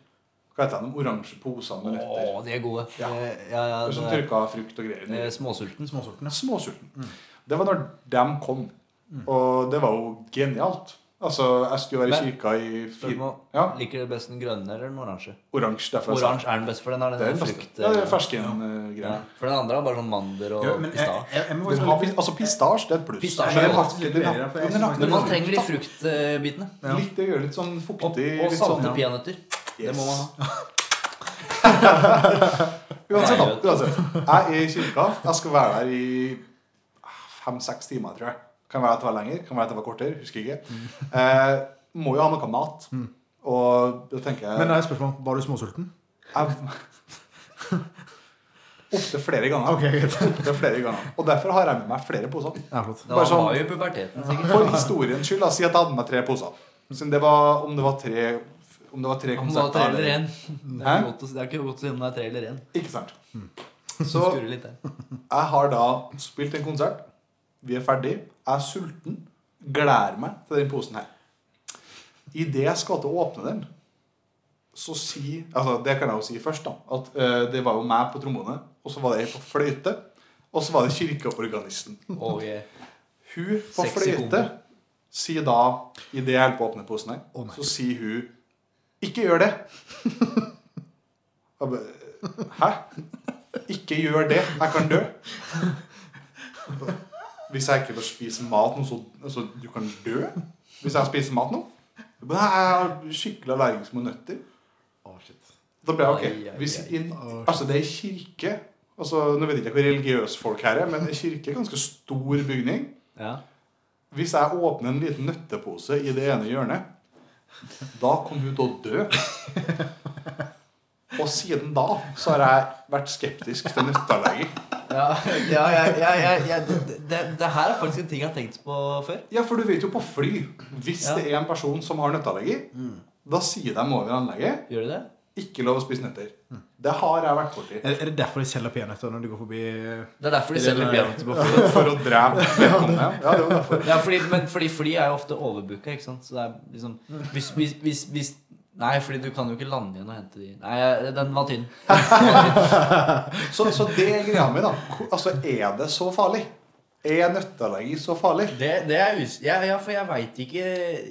Hva heter de? De oransje posene med nøtter.
Å, de er gode.
Ja.
Eh, ja, ja,
Som
det er-
tørka frukt og greier.
eh, Mm.
nedi.
Småsulten.
Småsortene.
Småsulten. Det var når de kom. Og det var jo genialt. Altså, jeg skulle være i
Mm. Men-
kirka i
Du
fire
må,
ja,
Liker du best den grønne eller den oransje?
Oransje. derfor jeg sa-
Oransje er den beste, for den har
Det er
den
den
der
beste.
frukt...
Ja, det er
eh,
fersken-greia.
ja. For den andre har bare sånn mandel og
Jo, men jeg,
pistasje.
jeg, jeg må
Den
faktisk
har pis- Altså, pistasje det er et pluss.
Pistasje
Men den
er
har
faktisk
ikke-
litt
den har-
bedre, for jeg
den har
synes
ikke
Men
den
noe
man trenger de fruktbitene.
Ja.
Litt det gjør litt sånn fuktig.
Og, og
litt
salte
sånn,
peanøtter. Det må man ha.
Uansett, da.
Nei,
Uansett. Jeg er i kirka. Jeg skal være der i ah, fem-seks timer, tror jeg. Kan være at det var lenger, kan være at det var kortere. Husker ikke. Eh, må jo ha noe mat.
Mm.
Og da tenker jeg
Men da er spørsmålet var du småsulten?
eh,
jeg Opptil flere ganger.
Ok, greit.
Opptil flere ganger. Og derfor har jeg med meg flere poser.
Ja, flott.
Det
Bare
var,
sånn-
var jo i puberteten. sikkert.
For historiens skyld, da, si at jeg hadde med meg tre poser. Siden det var Om det var tre Om det var tre
Om det var tre eller én. Det
Hæ?
er godt å- det er ikke godt å si om det er tre eller én.
Ikke sant.
Mm. Så
Så
skurrer litt der.
Jeg har da spilt en konsert. Vi er ferdig. Jeg er sulten. Gleder meg til den posen her. Idet jeg skal til å åpne den, så si altså Det kan jeg jo si først, da. At eh, det var jo meg på trombone, og så var det ei på fløyte. Og så var det kirkeorganisten.
Og eh,
Hun på
Sexy
fløyte
kombo.
sier da, idet jeg holder på å åpne posen her,
Å, nei.
så sier hun Ikke gjør det! Jeg bare, Hæ? Ikke gjør det. Jeg kan dø. Hvis jeg ikke får spise mat nå, så, så du kan dø? Hvis jeg spiser mat nå? Jeg bare, Nei, jeg har skikkelig allergisk mot nøtter.
Å, shit.
Da ble jeg
Ai,
ok
ai,
hvis
ai.
i, Altså, det er kirke. Altså, nå vet jeg ikke hvor religiøse folk her er, men kirke er ganske stor bygning.
ja.
Hvis jeg åpner en liten nøttepose i det ene hjørnet, da kommer hun til å dø. Og siden da så har jeg vært skeptisk til nøtteallergi.
Ja, ja, ja, ja, ja, ja. Det, det, det her er faktisk en ting jeg har tenkt på før.
Ja, for du vet jo på fly Hvis
Ja.
det er en person som har nøtteallergi, da sier de over anlegget
Gjør du det?
ikke lov å spise nøtter. Det har jeg vært borti.
Er, er det derfor de selger peanøtter når du går forbi eh,
Det er derfor de selger peanøtter på fly.
For å drepe vedkommende. Ja, det er jo derfor.
Ja, fordi, men fordi fly er jo ofte overbooka, ikke sant? Så det er liksom Hvis, hvis, hvis, hvis Nei, fordi du kan jo ikke lande igjen og hente de Nei, jeg- den var tynn.
Så, så det er greia mi, da. Hvor- Altså, er det så farlig? Er nøtteallergi så farlig?
Det, det er us... Ja, ja for jeg veit ikke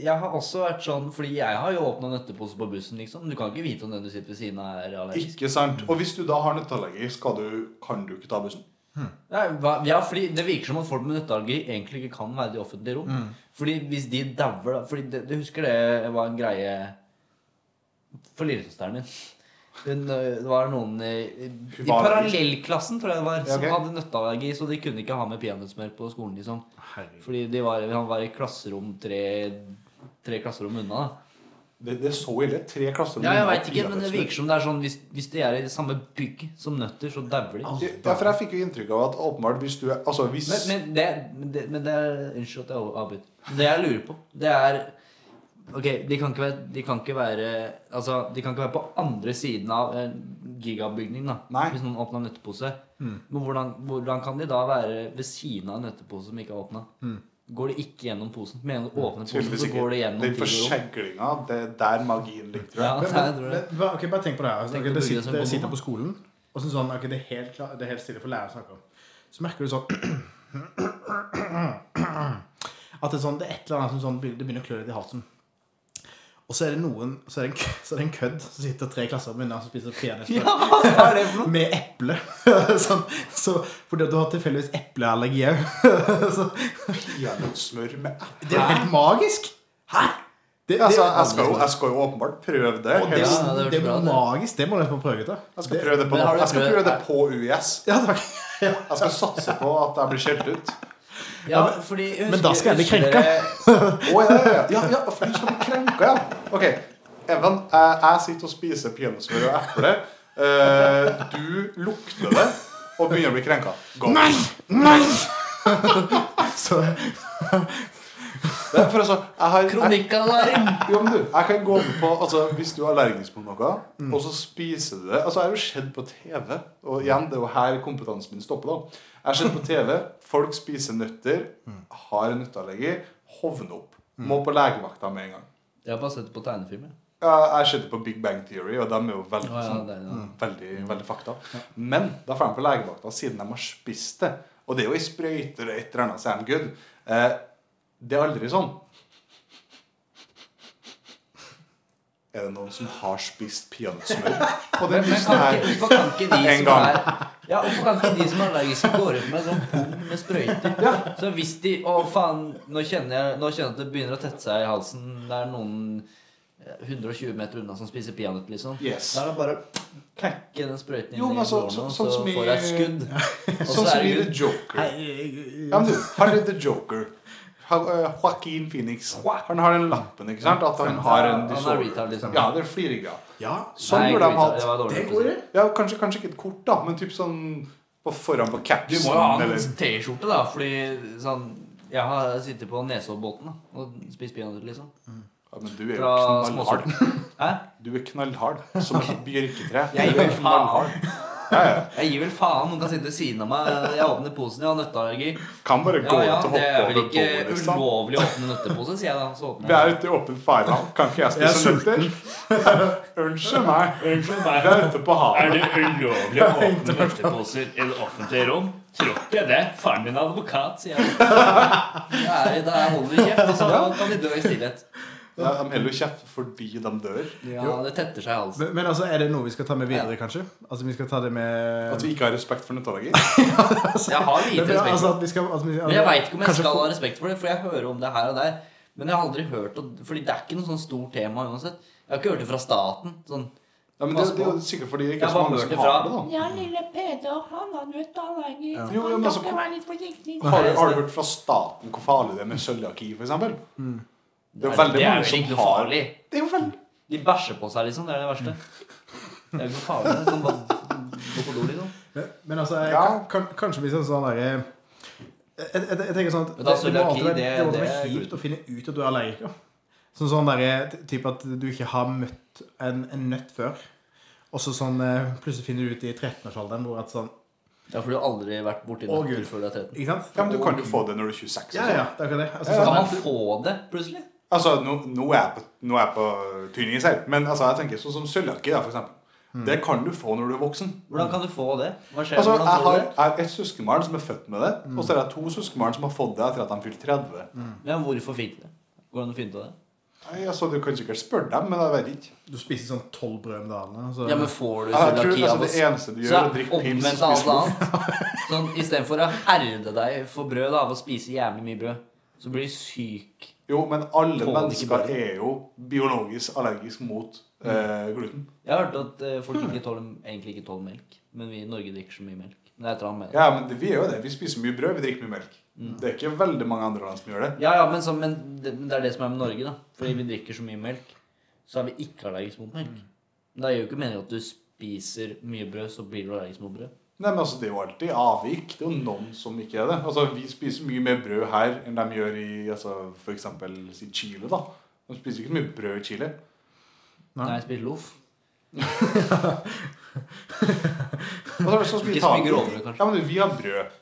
Jeg har også vært sånn Fordi jeg har jo åpna nøttepose på bussen, liksom. Du kan ikke vite om den du sitter ved siden av, er allergisk.
Ikke sant? Og hvis du da har nøtteallergi, skal du, kan du ikke ta bussen?
Nei, hva, ja, fordi Det virker som at folk med nøtteallergi egentlig ikke kan være i det offentlige rom. Fordi hvis de dauer da Fordi det, Du husker det var en greie for lillesøsteren min. Hun, ø, det var noen i, i i
Hun var allergisk.
parallellklassen tror jeg det var,
Ja, ok.
som hadde nøtteallergi, så de kunne ikke ha med peanøttsmør på skolen. liksom
Herregud.
Fordi de var, han var i klasserom tre, tre klasserom unna. da
Det, det er så ille. Tre klasserom
Ja, jeg
unna
vet ikke, men det
peanøttsmør.
virker som det er sånn hvis, hvis de er i samme bygg som nøtter, så dauer de.
Ja, for jeg fikk jo inntrykk av at åpenbart hvis du er Altså hvis
Men, men, det, men, det, men det er Unnskyld at jeg avbryter. Det jeg lurer på, det er Ok, de kan ikke være, de kan ikke være Altså, de kan ikke være på andre siden av en gigabygning, da.
Nei.
Hvis noen åpner en nøttepose.
Mm.
Men hvordan, hvordan kan de da være ved siden av en nøttepose som ikke er åpna?
Mm.
Går de ikke gjennom posen? Med en åpne pose,
tydeligvis
så
ikke.
går de gjennom
Den
tid og rom.
forseglinga, det er der magien ligger, tror
Ja,
jeg.
det
Men,
er- jeg
men,
tror det.
men, hva- ok, bare tenk på det her. Altså,
Tenk
ok,
på
dere
bygget som
sitter, dere
bomber.
sitter på skolen, og så sånn, ok, det, er helt klar, det er helt stille for læreren å snakke om. Så merker du sånn At det er, sånn, det er et eller annet som sånn, begynner- det begynner å klø litt i halsen. Og så er det noen Så er det en, k- så er det en kødd som sitter tre klasser unna og spiser peanøttsmør
Ja, hva er det for noe?
med eple. sånn, så, fordi at du har tilfeldigvis epleallergi òg.
Peanøttsmør med eple.
det er jo helt magisk! Hæ? Det, det,
Altså, jeg, skal jo, jeg skal jo åpenbart prøve det.
og det,
Ja,
Helst.
sånn. det
det,
hørtes
er
bra ut, det.
magisk. Det må du nesten prøve ut. da.
Jeg skal
Det-
prøve det på,
Men har du
jeg skal prøve
prøvd-
det på UiS.
Ja, takk.
Jeg skal satse på at jeg blir skjelt ut.
Ja, fordi, husker,
men da skal jeg bli
husker
krenka.
dere-
Å, ja, ja, ja, ja, for du skal bli krenka, ja. Ok, Evan, jeg, jeg sitter og spiser peanøttsmør og eple. Eh, du lukter det og begynner å bli krenka. Go.
Nei! Nei! Så
Det er for altså, jeg har, jeg,
Kronikkalarm!
jo, men du, jeg kan gå med på altså, Hvis du er allergisk mot noe, og så spiser du det Altså, Jeg har jo sett på TV, og igjen, det er jo her kompetansen min stopper. da Jeg har sett på TV, folk spiser nøtter, har nøtteallergi, hovner opp. Må på legevakta med en gang.
Jeg har bare sett på tegnefilmer.
Ja, jeg skjedde på Big Bang Theory, og de er jo veldig,
Å, ja,
sånn,
det Mm. er det, ja.
veldig, veldig fakta. Men da får de på legevakta, siden de har spist det Og det er jo ei sprøyte eller et eller annet, så er de good. Eh, det er aldri sånn. Er det noen som har spist peanøttsmør på den
Men
bussen
kan
her?
ikke, hvorfor kan ikke de
En
som
gang.
er ja, Hvorfor kan ikke de som er allergiske, gå rundt med en sånn pung med sprøyter? Så hvis de Å, faen, nå kjenner, jeg, nå kjenner jeg at det begynner å tette seg i halsen. Det er noen eh, 120 meter unna som spiser peanøtt, liksom.
Yes.
Da er det bare å knekke den sprøyten inn
Jo, men
i
så-
blåren,
så- sånn
og så
som i-
får jeg et skudd. Og så
Sånn
er
som i The
det good.
Joker. Ja,
Nei.
men du, han er The Joker. Han, eh, Joaquin Phoenix. Han har den lappen, ikke sant? At han har en
Han er retard, liksom.
Ja, det er fliregreier.
Ja,
Sånn
Nei,
burde de
retard,
hatt.
Det var
det
dårlig.
går det.
Ja, kanskje, kanskje ikke et kort, da, men typ sånn på foran på
Du
capsen.
må jo ha en
eller-
T-skjorte, da, fordi sånn Jeg har sittet på Nesoddbåten da, og spist peanøtter, liksom.
ja, men du er jo
Fra
knallhard.
Hæ?
Du er knallhard som et bjørketre.
Jeg
Du er
gir vel
knallhard.
faen.
Ja, ja.
Jeg gir vel faen. Noen kan sitte ved siden av meg. Jeg åpner posen, jeg har nøtteallergi.
Kan bare
Ja,
gå
ja,
ut og
det
hoppe
er vel
over
ikke
bordet. liksom.
ulovlig å åpne nøttepose, sier jeg da. Så
Vi
åpner
er
jeg.
ute i åpen farvann. Kan ikke jeg
Jeg er
spise nøtter? Unnskyld meg.
Unnskyld
Vi er ute på
Er
havet.
det ulovlig å åpne nøtteposer i det offentlige rom? Tror ikke det. Faren min er advokat, sier jeg.
Da er det- Da holder vi kjeft, og så kan de dø i stillhet.
Ja, de holder jo kjeft fordi de dør.
Ja, det tetter seg i halsen.
Men, men altså, er det noe vi skal ta med videre, kanskje? Altså, vi skal ta det
At
med
vi ikke har respekt for nøtteallergi.
Jeg har lite
Men,
respekt. for
altså, at vi skal, altså, vi,
Men jeg veit ikke om jeg
kanskje
skal
få-
ha respekt for det, for jeg hører om det her og der. Men jeg har aldri hørt om- Fordi det er ikke noe sånn stort tema uansett. Jeg har ikke hørt det fra staten. Sånn.
Ja, men det, det er jo sikkert fordi det
Jeg
ikke er
har
så
bare
mange
hørt det
som
fra
har det, da.
Ja, lille Peder, han har nøtteallergi. Ja.
Jo, jo, men altså,
Dere være litt forsiktige.
Har, har du hørt fra staten hvor farlig det er med cøliaki, f.eks.? Det er
Mm.
jo
Det er-
veldig
det er
mange
vel
som
ikke noe
har
farlig.
Det er jo veldig
De bæsjer på seg, liksom. Det er det verste. Det er jo ikke farlig. det er Sånn, bare, gå på do, liksom.
Men, men altså, jeg,
Ja.
kan, kan, kanskje vi skal sånn derre jeg, jeg, jeg, jeg tenker sånn at
Men da
det, det må
cøliaki,
alltid være,
det-
det må alltid
det
være
er
kjipt å finne ut at du er allergiker. Sånn sånn derre t- typ at du ikke har møtt en, en nøtt før, og så sånn eh, plutselig finner du ut i 13-årsalderen hvor at sånn
Ja, for du har aldri vært borti
Å,
nøtter
Gud.
før du er 13.
Ikke sant?
Ja, men du kan jo få det når du er 26. og
Ja,
sånn.
ja, det er akkurat det. Altså,
Kan
sånn,
man få det plutselig?
Altså, nå, nå, er jeg på, nå er jeg på tynn is her, men altså, jeg tenker sånn som Sølvjakke, da, for eksempel.
Mm.
Det kan du få når du er voksen.
Hvordan kan du få det? Hva skjer
Altså,
når man
jeg
får
har
det?
jeg har et søskenbarn som er født med det,
Mm.
og så er det to søskenbarn som har fått det etter at de fylte 30.
Ja, hvorfor fikk de det? Går det an å finne ut av det?
Nei, altså, Du kan sikkert spørre dem, men jeg vet ikke.
Du spiser sånn tolv brød om dagen. altså. og så-
Ja, men får du
Jeg tror
cøliaki
altså,
av å
Det eneste du gjør,
Så
er å
er
drikke pils.
omvendt av alt annet. Sånn, Istedenfor å herde deg for brød da, av å spise jævlig mye brød, så blir du syk.
Jo, men alle
Tåler ikke
mennesker
brød.
er jo biologisk allergisk mot eh, gluten.
Jeg har hørt at eh,
Hmm.
folk ikke tåler, egentlig ikke tåler melk. Men vi i Norge drikker så mye melk. Men det er et eller annet med det.
Ja, men det, vi er jo det. Vi spiser mye brød, vi drikker mye melk. Det er ikke veldig mange andre land som gjør det.
Ja, ja, men, så, men det, men det er det som er med Norge, da. Fordi vi drikker så mye melk, så er vi ikke allergisk mot melk. Men det gir jo ikke mening at du spiser mye brød, så blir du allergisk mot brød.
Nei, men altså, Det er jo alltid avvik. Det er jo noen som ikke er det. Altså, Vi spiser mye mer brød her enn de gjør i altså, f.eks. si Chile. da. De spiser ikke så mye brød i Chile.
Nei.
Nei, jeg spiser loff.
Og så er det så mye
Ikke så mye
taco.
grovbrød, kanskje.
Ja, men vi har brød.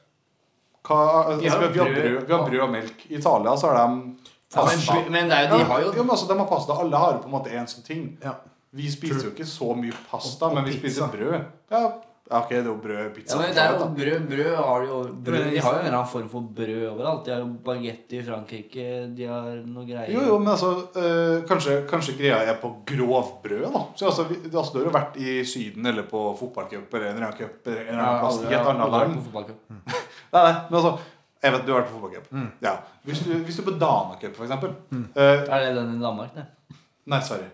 Hva, altså,
Vi har
vi, har
brød.
brød, vi har brød og melk. I Italia så har de
Ja, men
pasta.
brød- men det er jo- de har jo
ja, men altså, de har pasta. Alle har jo på en måte én sånn ting.
Ja.
Vi spiser jo ikke så mye pasta,
Og- og
men vi spiser
pizza.
brød. Ja, ja, ok, det er jo brød pizza.
Ja, men
for
det
så
er
vidt,
jo
da.
brød, brød har jo brød,
Men-
De har jo en eller annen form for brød overalt. De har jo bagetti i Frankrike, de har noe greier
Jo, jo, men altså, øh, kanskje, kanskje greia er på grovbrød, da. Så altså, vi, altså, Du har jo vært i Syden eller på fotballcup eller en eller annen cup eller en eller annen plass i et annet land. Nei, nei, men altså, jeg vet du har vært på fotballcup.
Mm.
Ja. Hvis, du- hvis du er på Danacup, for eksempel eh,
Er det den i Danmark, det?
Nei, sorry.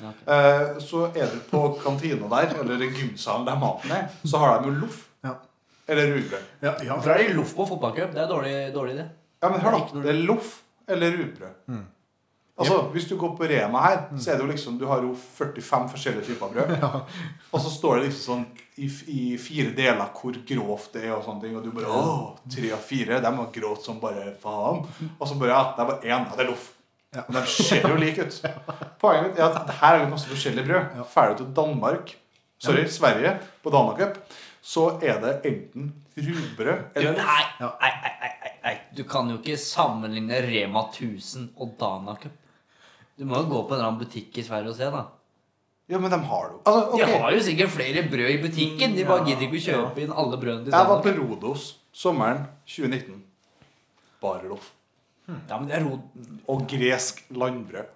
Ja, ok.
Eh, så er du på kantina der, eller i gymsalen der maten er, så har de jo loff.
Ja.
Eller rugbrød.
Ja, ja.
Hvorfor er det loff på fotballcup? Det er dårlig, dårlig idé.
Ja, men hør,
Det er ikke
da.
noe-
Det er loff eller rugbrød. Altså, Hvis du går på Rema her, så er det jo liksom Du har jo 45 forskjellige typer brød. Og så står det liksom sånn i, f- i fire deler hvor grovt det er, og sånne ting. Og du bare Å, tre av fire. De var grovt som bare faen. Og så bare Ja, det er bare én. Ja, det er loff.
Ja.
Men de ser jo like ut. Poenget mitt er at her er det masse forskjellige brød. Ferdig til Danmark Sorry, Sverige, på Danacup, så er det enten rugbrød
Du, nei,
eller loff.
nei, nei, nei, nei, nei. Du kan jo ikke sammenligne Rema 1000 og Danacup. Du må jo gå på en eller annen butikk i Sverige og se, da.
Ja, men de har det jo. Altså,
De
ok.
har jo sikkert flere brød i butikken. De bare gidder ikke å kjøpe inn alle brødene til
Jeg var
sammen.
på Rodos sommeren 2019. Bare loff.
Ja, men det er rot...
Og gresk landbrød.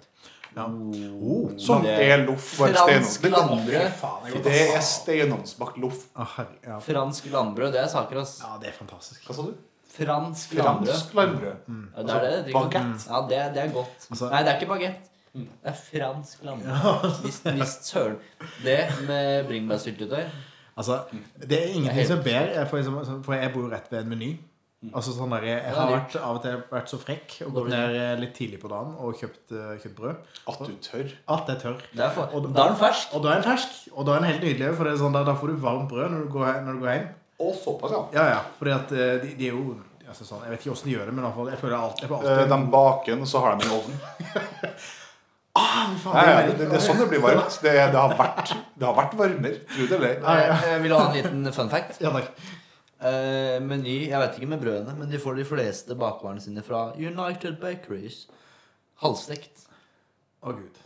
Ja. Oh,
Som
Det-
er loff. bare
Fransk
steinovn.
landbrød.
faen, jeg går-
Det er steinovnsbakt loff.
Å, herre- ja.
Fransk landbrød, det er saker, ass.
ja, det er fantastisk.
Hva sa du?
Fransk landbrød.
Fransk landbrød.
Ja, det er det. det
Baguette.
Ja, det, det er godt.
Altså-
Nei, det er ikke bagett. Det er fransk landbrød. Visst, visst søren. Det med bringebærsyltetøy
Altså, det er ingenting som er bedre, jeg får liksom- for jeg bor jo rett ved en meny.
Mm.
Altså sånn der, Jeg har vært, av og til vært så frekk og gått ned eh, litt tidlig på dagen og kjøpt, eh, kjøpt brød.
At du tør.
At det er tørr.
det er for,
Og-
Da er den fersk.
Og da er den fersk. Og da er den helt nydelig. For det er sånn, da, da får du varmt brød når du går, he- når du går hjem.
Og såpass, ja.
Ja, ja. Fordi at eh, de, de er jo altså sånn, Jeg vet ikke åssen de gjør det, men i hvert fall, jeg føler alt, jeg får
Eh,
alltid
De baker den, og så har de den i ovnen.
Faen,
Nei,
det er
ja, det,
veldig-
det er sånn det blir varmt. Det, det, har, vært, det har vært varmer. Tro det eller ei.
Ah, Ja, ja.
Jeg Eh, vil ha en liten fun fact.
Ja, takk.
Eh, meny Jeg vet ikke med brødene, men de får de fleste bakvarene sine fra United Bakeries. Halvstekt.
Å, gud.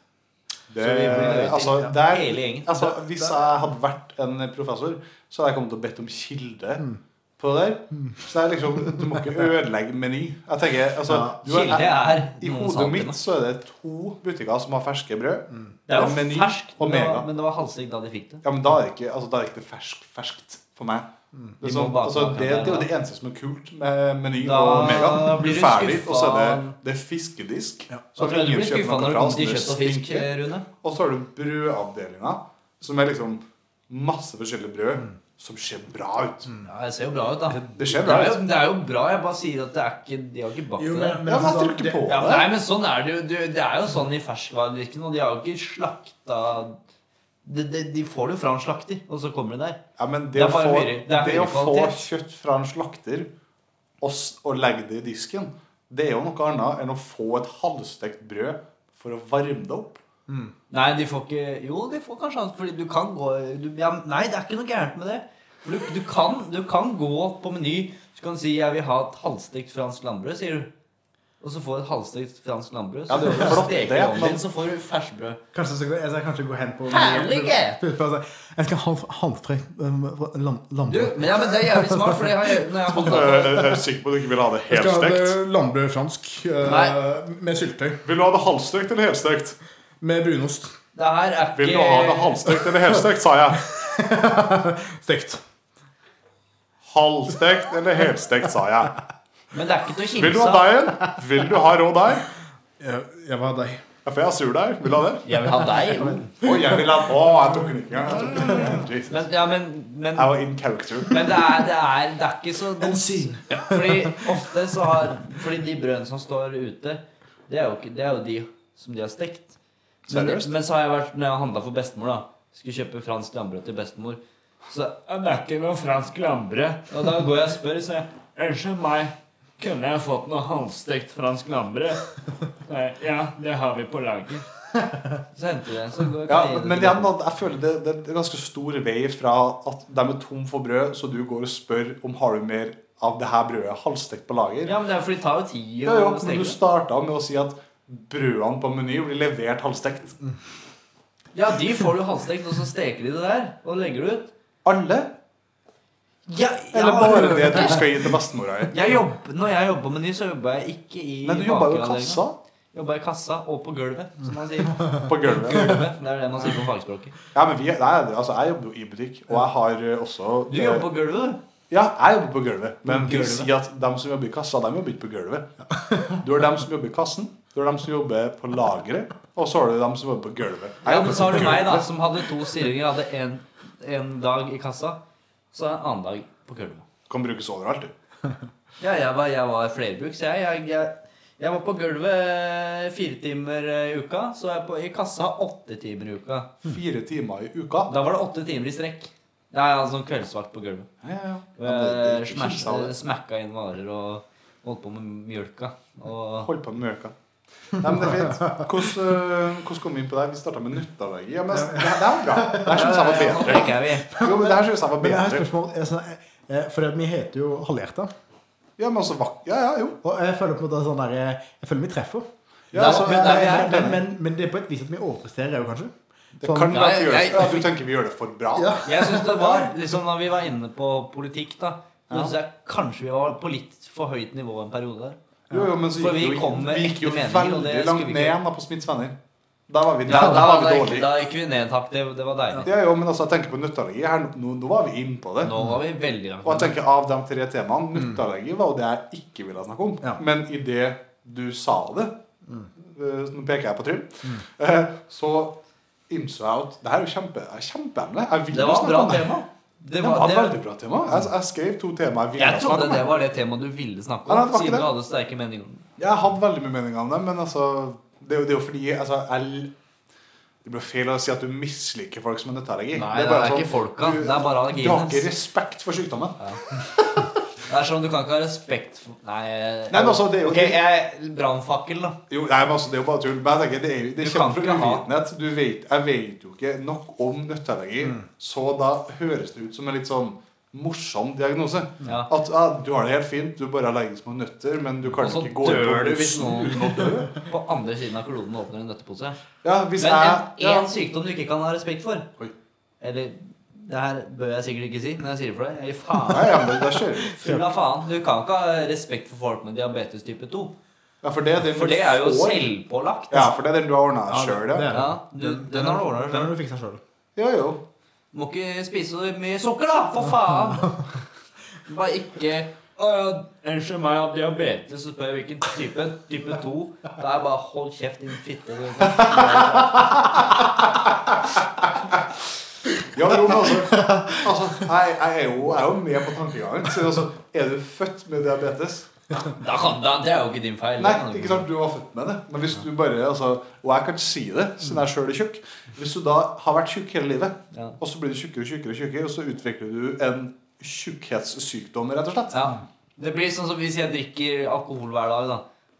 Det,
Så vi blir nødt
altså,
til-
der,
hele gjengen.
altså, hvis jeg hadde vært en professor, så hadde jeg kommet til å bedt om kilde
Mm.
på det der. Så det er liksom, du må ikke ødelegge meny. Jeg tenker, altså,
Ja.
du har-
Kilde er
I
noen
hodet mitt
saltene.
så er det to butikker som har ferske brød.
Det er
Og
jo
Meny
ferskt,
og
men det var-
Mega.
men det var halvstekt da de fikk det.
Ja, men da er det ikke, altså, da er det ikke ferskt, ferskt for meg. Det er,
Mm. Vi må
sånn,
bake
altså,
akkurat
det,
der,
det er jo
da.
det eneste som er kult med Meny
Da
og Mega.
blir du
ferdig,
skuffa.
og så er det, det er fiskedisk.
Så
som
tror jeg du
ingen
blir
kjøper
skuffa
noe
når det
fra,
kommer
så
til
det
kjøtt og fisk, eh,
stinker.
Rune.
Og så har du brødavdelinga, som er liksom masse forskjellige brød som ser bra ut.
Ja, det ser jo bra ut, da.
Det ser
Det
bra
er, jo,
ut.
det er jo bra. Jeg bare sier at det er ikke, de har ikke bakt
Jo,
det.
men, men,
Ja, men jeg
sånn-
tror ikke
det-
på
Ja, men,
det.
nei, men sånn er det jo. Du, det er jo sånn i ferskvaredikken, og de har jo ikke slakta de, de, de får det jo fra en slakter, og så kommer det der.
Ja, men det,
Det er
å
bare
få,
høyere- det er
det å
høyere
få
kvalitet.
kjøtt fra en slakter og, s- og legge det i disken, det er jo noe annet enn å få et halvstekt brød for å varme det opp.
Nei, de får ikke Jo, de får kanskje annet, fordi du kan gå du, ja, Nei, det er ikke noe gærent med det. For Du, du, kan, du kan gå på Meny, så kan du si 'jeg vil ha et halvstekt fransk landbrød', sier du. Og så får du et halvstekt fransk landbrød.
Ja, det er jo flott,
steker
det,
i ovnen
men-
din, så får du fersbrød.
Kanskje så, jeg skal kanskje gå hen på
Herlige!
Putte på, altså, Jeg skal ha eh, halvfrekt
Du,
landbrød.
men, ja, men det er jævlig smart, for det har jeg, når jeg har holdt
Jeg er sikker på at du ikke vil ha det
Jeg skal ha
helstekt.
det landbrød fransk eh,
Nei.
med syltetøy.
Vil du ha det halvstekt eller helstekt?
Med brunost.
Det her er
Vil du ha det
ikke
halvstekt eller helstekt, sa jeg.
Stekt.
Halvstekt eller helstekt, sa jeg.
Men det er ikke til å
Vil du
kimse
ha
av.
deigen? Vil du ha rå deig?
Jeg, jeg var deg.
Ja, for jeg har surdeig. Vil du ha det?
Jeg vil ha deg. jo.
Å, jeg vil ha Å, jeg tok den ikke engang. Jeg tok den ikke engang. Jesus.
Men, ja, men, men
Jeg var in character.
Men det er, det er, det er ikke så Fordi ofte så har Fordi de brødene som står ute, det er jo, ikke, det er jo de som de har stekt. Men,
Seriøst?
men så har jeg vært, når jeg har handla for bestemor, da skulle kjøpe fransk landbrød til bestemor, så,
Ja, Det er ikke noe fransk landbrød.
og da går jeg og spør, så jeg
Unnskyld meg, kunne jeg fått noe halvstekt fransk landbrød? Nei, ja, det har vi på lager.
Så henter jeg så går jeg
Ja,
og gir det
men
til
igjen,
bestemor.
da, jeg føler det, det er en ganske stor vei fra at de er tom for brød, så du går og spør om har du mer av det her brødet halvstekt på lager.
Ja, men det er fordi det tar jo tid
Ja,
å
jo, men du
steke det.
starta med å si at brødene på Meny blir levert halvstekt.
Mm. Ja, de får du halvstekt, og så steker de det der og legger det ut.
Alle?
Ja,
Eller bare det du skal gi til bestemora di?
jeg jobb, når jeg jobber på Meny, så jobber jeg ikke i
Men du jobba jo i
bakeavdelingen.
kassa.
Jobba i kassa og på gulvet, som man sier.
På gulvet.
Gulvet, Det er det man sier på fagspråket.
Ja, men vi, nei, altså, jeg jobber jo i butikk, og jeg har eh, også
Du jobber på gulvet, du.
Ja, jeg jobber på gulvet. Men vi
gulvet.
sier at dem som jobber i kassa, de jobber ikke på gulvet. Du har dem som jobber i kassen, du har dem som jobber på lageret, og så har du dem som jobber på gulvet. Jeg
Ja,
jobber
men så har
på
du meg, da,
gulvet.
som hadde to stillinger. Jeg hadde en, en dag i kassa, så en annen dag på gulvet.
Kan brukes overalt, du.
Ja, jeg var, jeg var flerbruks, jeg. Jeg, jeg, jeg var på gulvet fire timer eh, i uka. Så var jeg på, i kassa åtte timer i uka.
Fire timer i uka.
Da var det åtte timer i strekk. Ja, jeg hadde sånn kveldsvakt på gulvet.
Ja, ja, ja. Ja, men det-
Jeg
det- det-
smasha- Smakka inn varer og holdt på med mjølka. Og
Hold på med møka. Nei, men det er fint. Hvordan, øh, hvordan kom vi inn på det? her? Vi starta med nytteallergi. Ja, men det, det er bra. Det her syns jeg var
Nå
bedre.
tenker jeg vi.
Jo, men det her synes jeg var
Men jeg har et
bedre.
spørsmål. Jeg, sånn, eh, for at vi heter jo Halvhjerta.
Ja, men også vak... Ja, ja, jo.
Og jeg føler på en måte sånn der, eh, Jeg føler vi treffer.
Ja,
Nei,
så-
men-
nei, jeg er helt
men,
enig.
men, men det er på et vis at vi overpresterer jo kanskje.
det
Sånn-
kan
Ja,
være at vi gjør
jeg-
det. Ja, Du tenker vi gjør det for bra?
Ja.
Jeg synes det var, liksom Når vi var inne på politikk, da så synes jeg kanskje vi var på litt for høyt nivå en periode der.
Jo, jo, men så
For
gikk
vi
jo,
kom med
vi gikk jo
ekte meninger, og
veldig
det
langt
skulle vi
ned
ikke-
igjen da på Smiths venner. Da var vi,
Ja,
da
da,
var
da,
vi
gikk,
dårlige.
da gikk vi ned, takk. Det, det var deilig.
Ja, jo, men altså, jeg tenker på nytteallergi. Her, nå, nå var vi inne på det.
Nå var vi veldig
Og jeg
langt ned.
tenker av de tre temaene Nytteallergi var jo det jeg ikke ville snakke om.
Ja.
Men i det du sa det
Mm.
eh, Nå peker jeg på Trym. eh, Så innså jeg at det her er jo kjempe, jeg er kjempeemne. Jeg vil
Det
jo
var et
snakke
bra
om det.
tema. Det
Det
var,
var et
det,
veldig bra tema. Jeg, jeg skrev to temaer jeg ville
jeg trodde
snakke om.
det var det temaet du ville snakke
Nei,
om,
det var ikke
siden du
det.
hadde sterke meninger om det.
Jeg hadde veldig mye meninger om det, men altså Det er jo, det er jo fordi altså, jeg, Det blir feil å si at du misliker folk som har nytteallergi.
Nei,
er
det
bare
er
sånn,
ikke folka.
du-
Det er bare
Du har ikke
allergien.
respekt for sykdommen.
Det er sånn du kan ikke ha respekt for Nei.
Nei, men altså, det er jo-
Ok, jeg Brannfakkel, da.
Jo, nei, men altså, Det er jo bare tull. Men jeg tenker, det, er, jo- det
Du
kommer
kan
fra
ikke ha-
uvitenhet. Du vet, jeg vet jo ikke nok om nøtteallergi,
Mm.
så da høres det ut som en litt sånn morsom diagnose.
Ja.
At ja, du har det helt fint, du er bare allergisk mot nøtter, men du kan
Og så
ikke gå ut på
dør du hvis
bussen
noen-
uten å dø.
På andre siden av kloden åpner en nøttepose.
Ja, hvis
Men
jeg...
en,
Ja.
en sykdom du ikke kan ha respekt for
Oi.
Eller Det her bør jeg sikkert ikke si, men jeg sier det for deg. Jeg gir
Nei,
faen.
ja, men da kjører vi.
Full av faen. Du kan ikke ha respekt for folk med diabetes type 2.
Ja, for det er den
For
du
det er jo
får.
selvpålagt.
Ja, for det er den du har ordna
Ja, det-
sjøl,
det
ja.
er
Ja, du, den har du ordna
Den
sjøl.
har du fiksa sjøl.
Jo, jo.
Må ikke spise så mye sukker, da! For faen! Bare ikke
Å ja, unnskyld meg, jeg har diabetes.
Så spør jeg hvilken type. Type 2. Da er bare hold kjeft, din fitte.
Ja, jo, men altså, altså jeg, jeg, er jo, jeg er jo med på tankegangen. Så altså, er du født med diabetes?
Da kan, da, det er jo ikke din feil.
Nei, ikke sant, du var født med det. Men hvis du bare, altså, og jeg kan si det, siden jeg sjøl er tjukk Hvis du da har vært tjukk hele livet,
Ja.
og så blir du tjukkere og tjukkere, og tjukkere, og så utvikler du en tjukkhetssykdom, rett og slett.
Ja. Det blir sånn som hvis jeg drikker alkohol hver dag, da.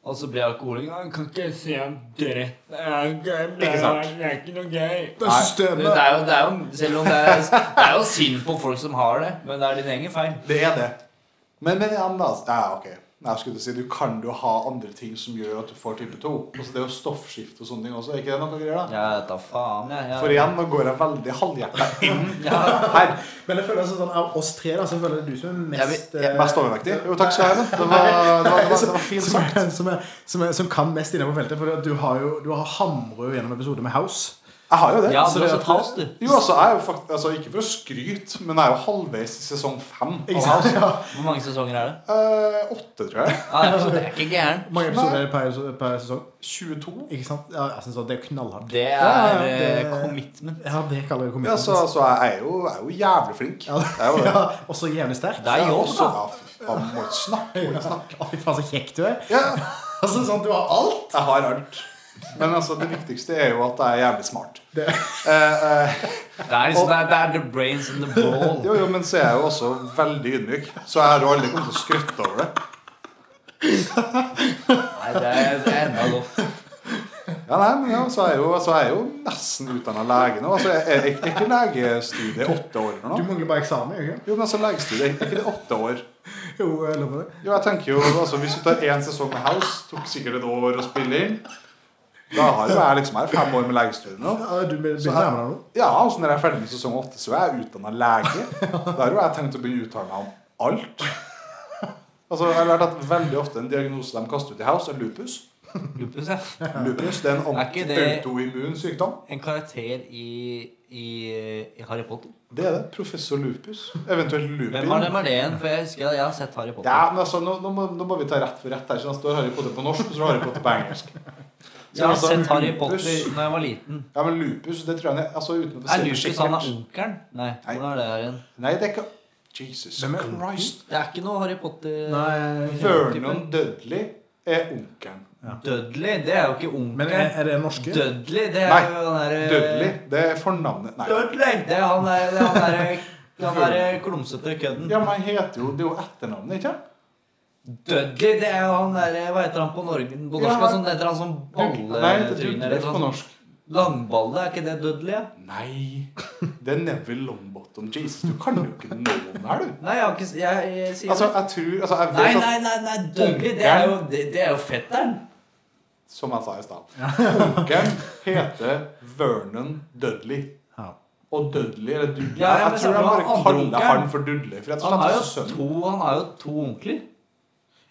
Og så blir jeg alkoholing.
Jeg kan ikke si en dritt. Det er gøy, men
Ikke sant?
Det er ikke noe gøy.
Det er
Det, det,
systemet.
er jo, det er jo, selv om det er, det er jo synd på folk som har det, men det er din egen feil.
Det er det. Men, men igjen, da. altså, Ja, ok. Nei, jeg skulle si, Du kan jo ha andre ting som gjør at du får type 2. Altså, det er jo stoffskifte og sånne ting også. Er ikke det noe greier, da?
Ja, jeg vet da faen, jeg. jeg-
For igjen, nå går jeg veldig halvhjertet inn
Ja.
her.
Men jeg føler altså sånn, av oss tre da, så føler jeg det er du som er
Jeg
mest eh,
er mest overvektig. Jo, takk skal du ha. Det var, det var, det var, det var fint
som,
sagt.
er, som, er, som, er, som kan mest innenfor feltet. For du har jo du har hamret jo gjennom episoder med House.
Jeg har jo det.
Ja,
Så
du
det
har
at-
sett House, du.
Jo, altså, jeg er jo fakt altså, Ikke for å skryte, men jeg er jo halvveis i sesong fem.
Ikke
av House.
sant? Ja.
Hvor mange sesonger er det?
Eh, åtte, tror jeg.
Ja, det er ikke- det er ikke gæren.
Mange episoder per, per sesong.
22.
Ikke sant? Ja, jeg synes at Det er jo knallhardt.
Det
Ja,
er
det-
eh, commitment.
Ja, det kaller jeg
Ja,
komedie.
så, så jeg, er jo, jeg er jo jævlig flink.
Ja,
Jeg er jo det.
ja, også jævlig sterk.
Deg
Ja,
òg,
også,
da.
ja, fy faen, må ikke snakke, må ikke snakke.
Å, Fy faen, så kjekk du er.
Ja,
Altså, sånn, Du har alt.
jeg har alt. Men altså, det viktigste er jo at jeg er jævlig smart.
Det-
Eh, eh,
Det er, liksom, det, er, det er the brains and the ball.
jo, jo, men så er jeg jo også veldig ydmyk, så jeg har jo aldri kommet til å skrytte over det.
Nei, det er, det er enda godt.
Ja, nei, men ja, så er jeg jo, så er jeg jo nesten utdanna lege nå. Altså, er, er, er ikke legestudiet åtte år eller
Du
noe?
mangler bare eksamen. gjør du ikke?
Jo, men altså, legestudiet, er ikke det åtte år?
Jo, jeg lover det.
Jo, jeg tenker jo, altså Hvis du tar én sesong med House, tok sikkert et år å spille inn. Da har jo jeg liksom her fem år med legestudiet nå.
Ja, du begynner
Så
å
her-
nærme deg noe.
Ja, altså når jeg er ferdig med sesong åtte, så er jeg utdanna lege. Da har jo jeg tenkt å begynne å uttale meg om alt. Altså, jeg har lært at veldig ofte en diagnose de kaster ut i House, er lupus.
Lupus, ja.
Lupus det er en
Er ikke det-
autoimmun sykdom.
En karakter i, i, i Harry Potter.
Det er det. Professor lupus. Eventuelt lupin.
Hvem er, hvem er det igjen? For jeg husker jeg, jeg har sett Harry Potter.
Ja, men altså, nå, nå, må, nå må vi ta rett for rett her. Så står Harry Potter på norsk, og så har Harry Potter på engelsk.
Jeg har
altså,
sett Harry
lupus-
Potter da jeg var liten.
Ja, men lupus, det tror jeg ne- altså, uten å få
Er
se det
Lupus han er
skikkelig.
onkelen? Nei,
Nei.
hvordan er det her igjen?
Nei, det er ikke Jesus
Hvem er onkel?
Christ.
Det er ikke noe Harry Potter
Nei,
Vernon Dudley er onkelen.
Dudley, det er jo ikke
men er,
onkelen.
er det norske?
Dudley, det
eh,
er
Nei,
jo han derre
Dudley, det er fornavnet Nei.
Dudley! Det er han der, det er han derre han derre klumsete kødden.
Ja, men han heter jo Det er jo etternavnet, ikke sant?
Dudley, det er jo han derre Hva heter han på Norge på norsk?
Ja,
sånn, heter han sånn
Nei, det er
balletryne eller
Dudley på
sånn?
norsk.
Langballe, er ikke det Dudley? ja?
Nei. Det er Neville Longbottom. Jesus, du kan jo ikke noe om det her, du.
Nei, jeg har ikke s- Jeg, jeg, sier
Altså,
det.
jeg tror altså, jeg
Nei,
vet
nei,
at,
nei, nei Dudley, det er jo, det, det er jo fetteren.
Som jeg sa i stad. Onkelen heter Vernon Dudley.
Ja.
Og Dudley eller Dudley
Ja, ja, men
Jeg
så
tror jeg
var
bare
han andre
kaller han
onkelen.
for Dudley. For jeg tror
Han
han
har
er
jo
sønnen.
to, han har jo to onkler.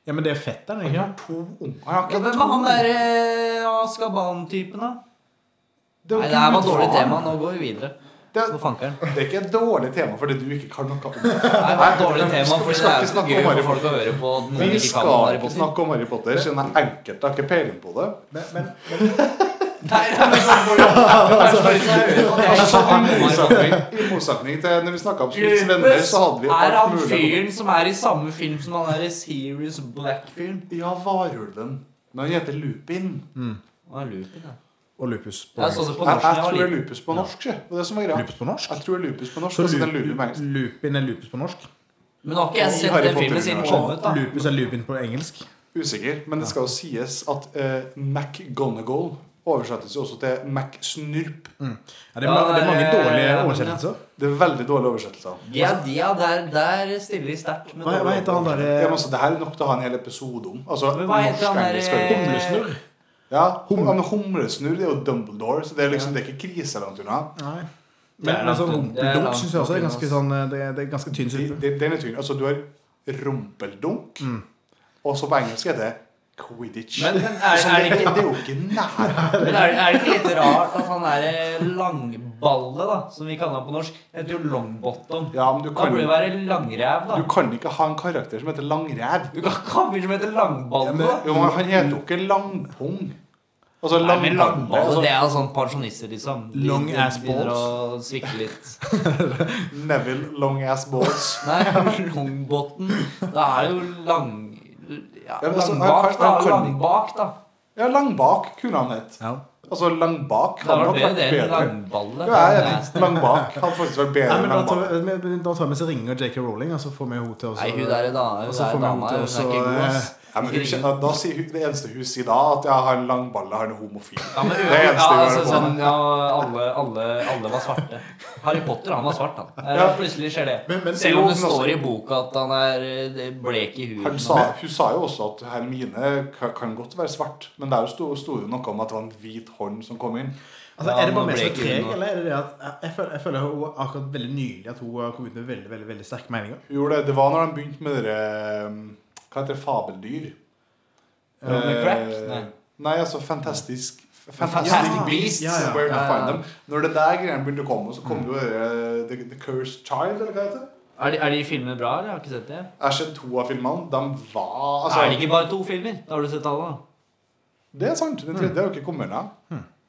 ja, men det er fetteren,
Han
ikke
har to onkler. Han har
Ja,
ikke
Hvem er han derre Askaban-typen, da?
Det er jo
Nei,
ikke
det her var
mitt
dårlig
faen.
tema. Nå går vi videre.
Det,
Nå fanker den.
det er ikke et dårlig tema fordi du ikke kan noe om det.
Nei, det var et dårlig
Vi
tema, for det
skal
er
ikke
jo så
snakke
gøy
om Harry
for folk å høre på at noen
Vi
ikke kan
skal
om Harry
ikke
Potter.
snakke om Harry Potter, siden enkelte har ikke peiling på det.
Men, men,
Nei, det er sånn for
Altså, sånn, I
folk
motsetning, i motsetning til når vi snakka om Spitz venner, så hadde vi
er
alt
han
mulig.
fyren som er i samme film som han derre Serious Black-fyren?
Ja, varulven. Men han heter Lupin.
Han er lupin, ja.
og lupus på
Jeg så
engelsk.
det på
Jeg,
norsk da
jeg
jeg var
tror det er
liten.
lupus på norsk. sjø. Det var det som var greia.
Lupus på norsk?
Jeg tror det er lupus på norsk.
Så
og så det er
lu-
lupin på engelsk.
Lupin er lupus på norsk?
Men nå har ikke jeg
I
sett
Harry
den filmen siden den kom ut, da.
Lupus er lupin på engelsk?
Usikker. Men det skal jo sies at uh, McGonagall oversettes jo også til McSnurp.
Ja, det, er, ma-
Ja,
det er mange
eh,
dårlige
ja.
oversettelser.
Det er veldig dårlige oversettelser.
Ja, ja, der, der stiller de sterkt. med
Hva, hva heter han
Ja, men
derre
altså, det her er nok til å ha en hel episode om. Altså,
Men hva heter han
norsk-engelsk
der,
er jo-
eh,
Humlesnurr?
Ja, hum, ja, men Humlesnurr det er jo Dumbledore, så det er liksom det er ikke krise langt unna.
Det er
Nei. Men, men
langt
sånn
unna. Det er
rumpeldunk
langt
syns jeg også er
unna,
ganske
ass.
sånn eh, Det, det er ganske tynn
De,
suppe.
de, den er tynn. Altså, du har rumpeldunk, og så på engelsk heter det quidditch.
Men- men er-
Så
er det ikke-
det er jo ikke nær.
Men er, er det ikke litt rart at han er eh, langballe, da, som vi kaller han på norsk, heter jo longbottom?
Ja, men du
Da
kan,
burde det være langrev, da.
du kan ikke ha en karakter som heter Langræv.
Du kan ikke ha en fyr som heter langballe.
Jo, men han heter jo ikke Langpung. Altså
Nei, men
langballe.
langballe, det
Altså,
er jo sånn pensjonister, liksom. De-
Long
de
ass
begynner å svikte litt.
Neville Longass Balls.
Nei, longbottom Da er det jo lang... Ja,
Ja, men altså,
langbak,
han-
da.
han kan-
Langbak, da.
Ja, Langbak kunne han hett.
Ja.
Altså Langbak
Det
hadde
var
nok
bedre
vært
det enn
bedre.
langballe. eh,
Jo, jeg er
Nasty.
enig. Langbak hadde faktisk vært
Nei,
bedre enn
men da tar
Langbak.
vi- men- men da tar vi så ringer JK Rowling, og så får vi henne til å
Nei, hun der er da- hun
og så
er
får vi
dama,
henne til
hun er
å
ikke god,
eh,
ass.
Ja, men hun, kjenner- da sier hun, det eneste hun sier da, at jeg har en langballe, han er homofil.
Ja, men,
Det eneste
ja,
vi
altså,
hører på.
sånn, ja, alle, alle, alle var svarte. Harry Potter han var svart, han. Eh,
Ja.
Plutselig skjer det.
Men- men-
Selv om det
jo, men
står
også-
i boka at han er eh, blek i
Han
huden.
sa, hun sa jo også at Hermine ka- kan godt være svart, men der sto, sto jo noe om at det var en hvit hånd som kom inn.
Altså,
Ja,
er det bare
men
meg som er
ble ikke
treg,
hun noe-
eller er det det at jeg- Jeg føler, jeg føler hun akkurat veldig nylig at hun har kommet ut med veldig veldig, veldig sterke meninger.
Hun gjorde det, det var når han begynte med det um, Hva heter det? Fabeldyr?
Ja, med Crack?
Eh,
Nei.
Nei, altså Fantastisk
Fantastic
Fantastic Beasts.
Ja, ja.
Where to
Ja, ja.
find them. Når det der greiene begynte å komme, så kom det jo eh, The, The Cursed Child, eller hva heter det?
Er de, er de filmene bra, eller? Jeg har ikke sett det.
Jeg har sett to av filmene. De var altså,
er det ikke bare to filmer? Da har du sett alle, da.
Det er sant. Den tredje har jo ikke kommet ennå.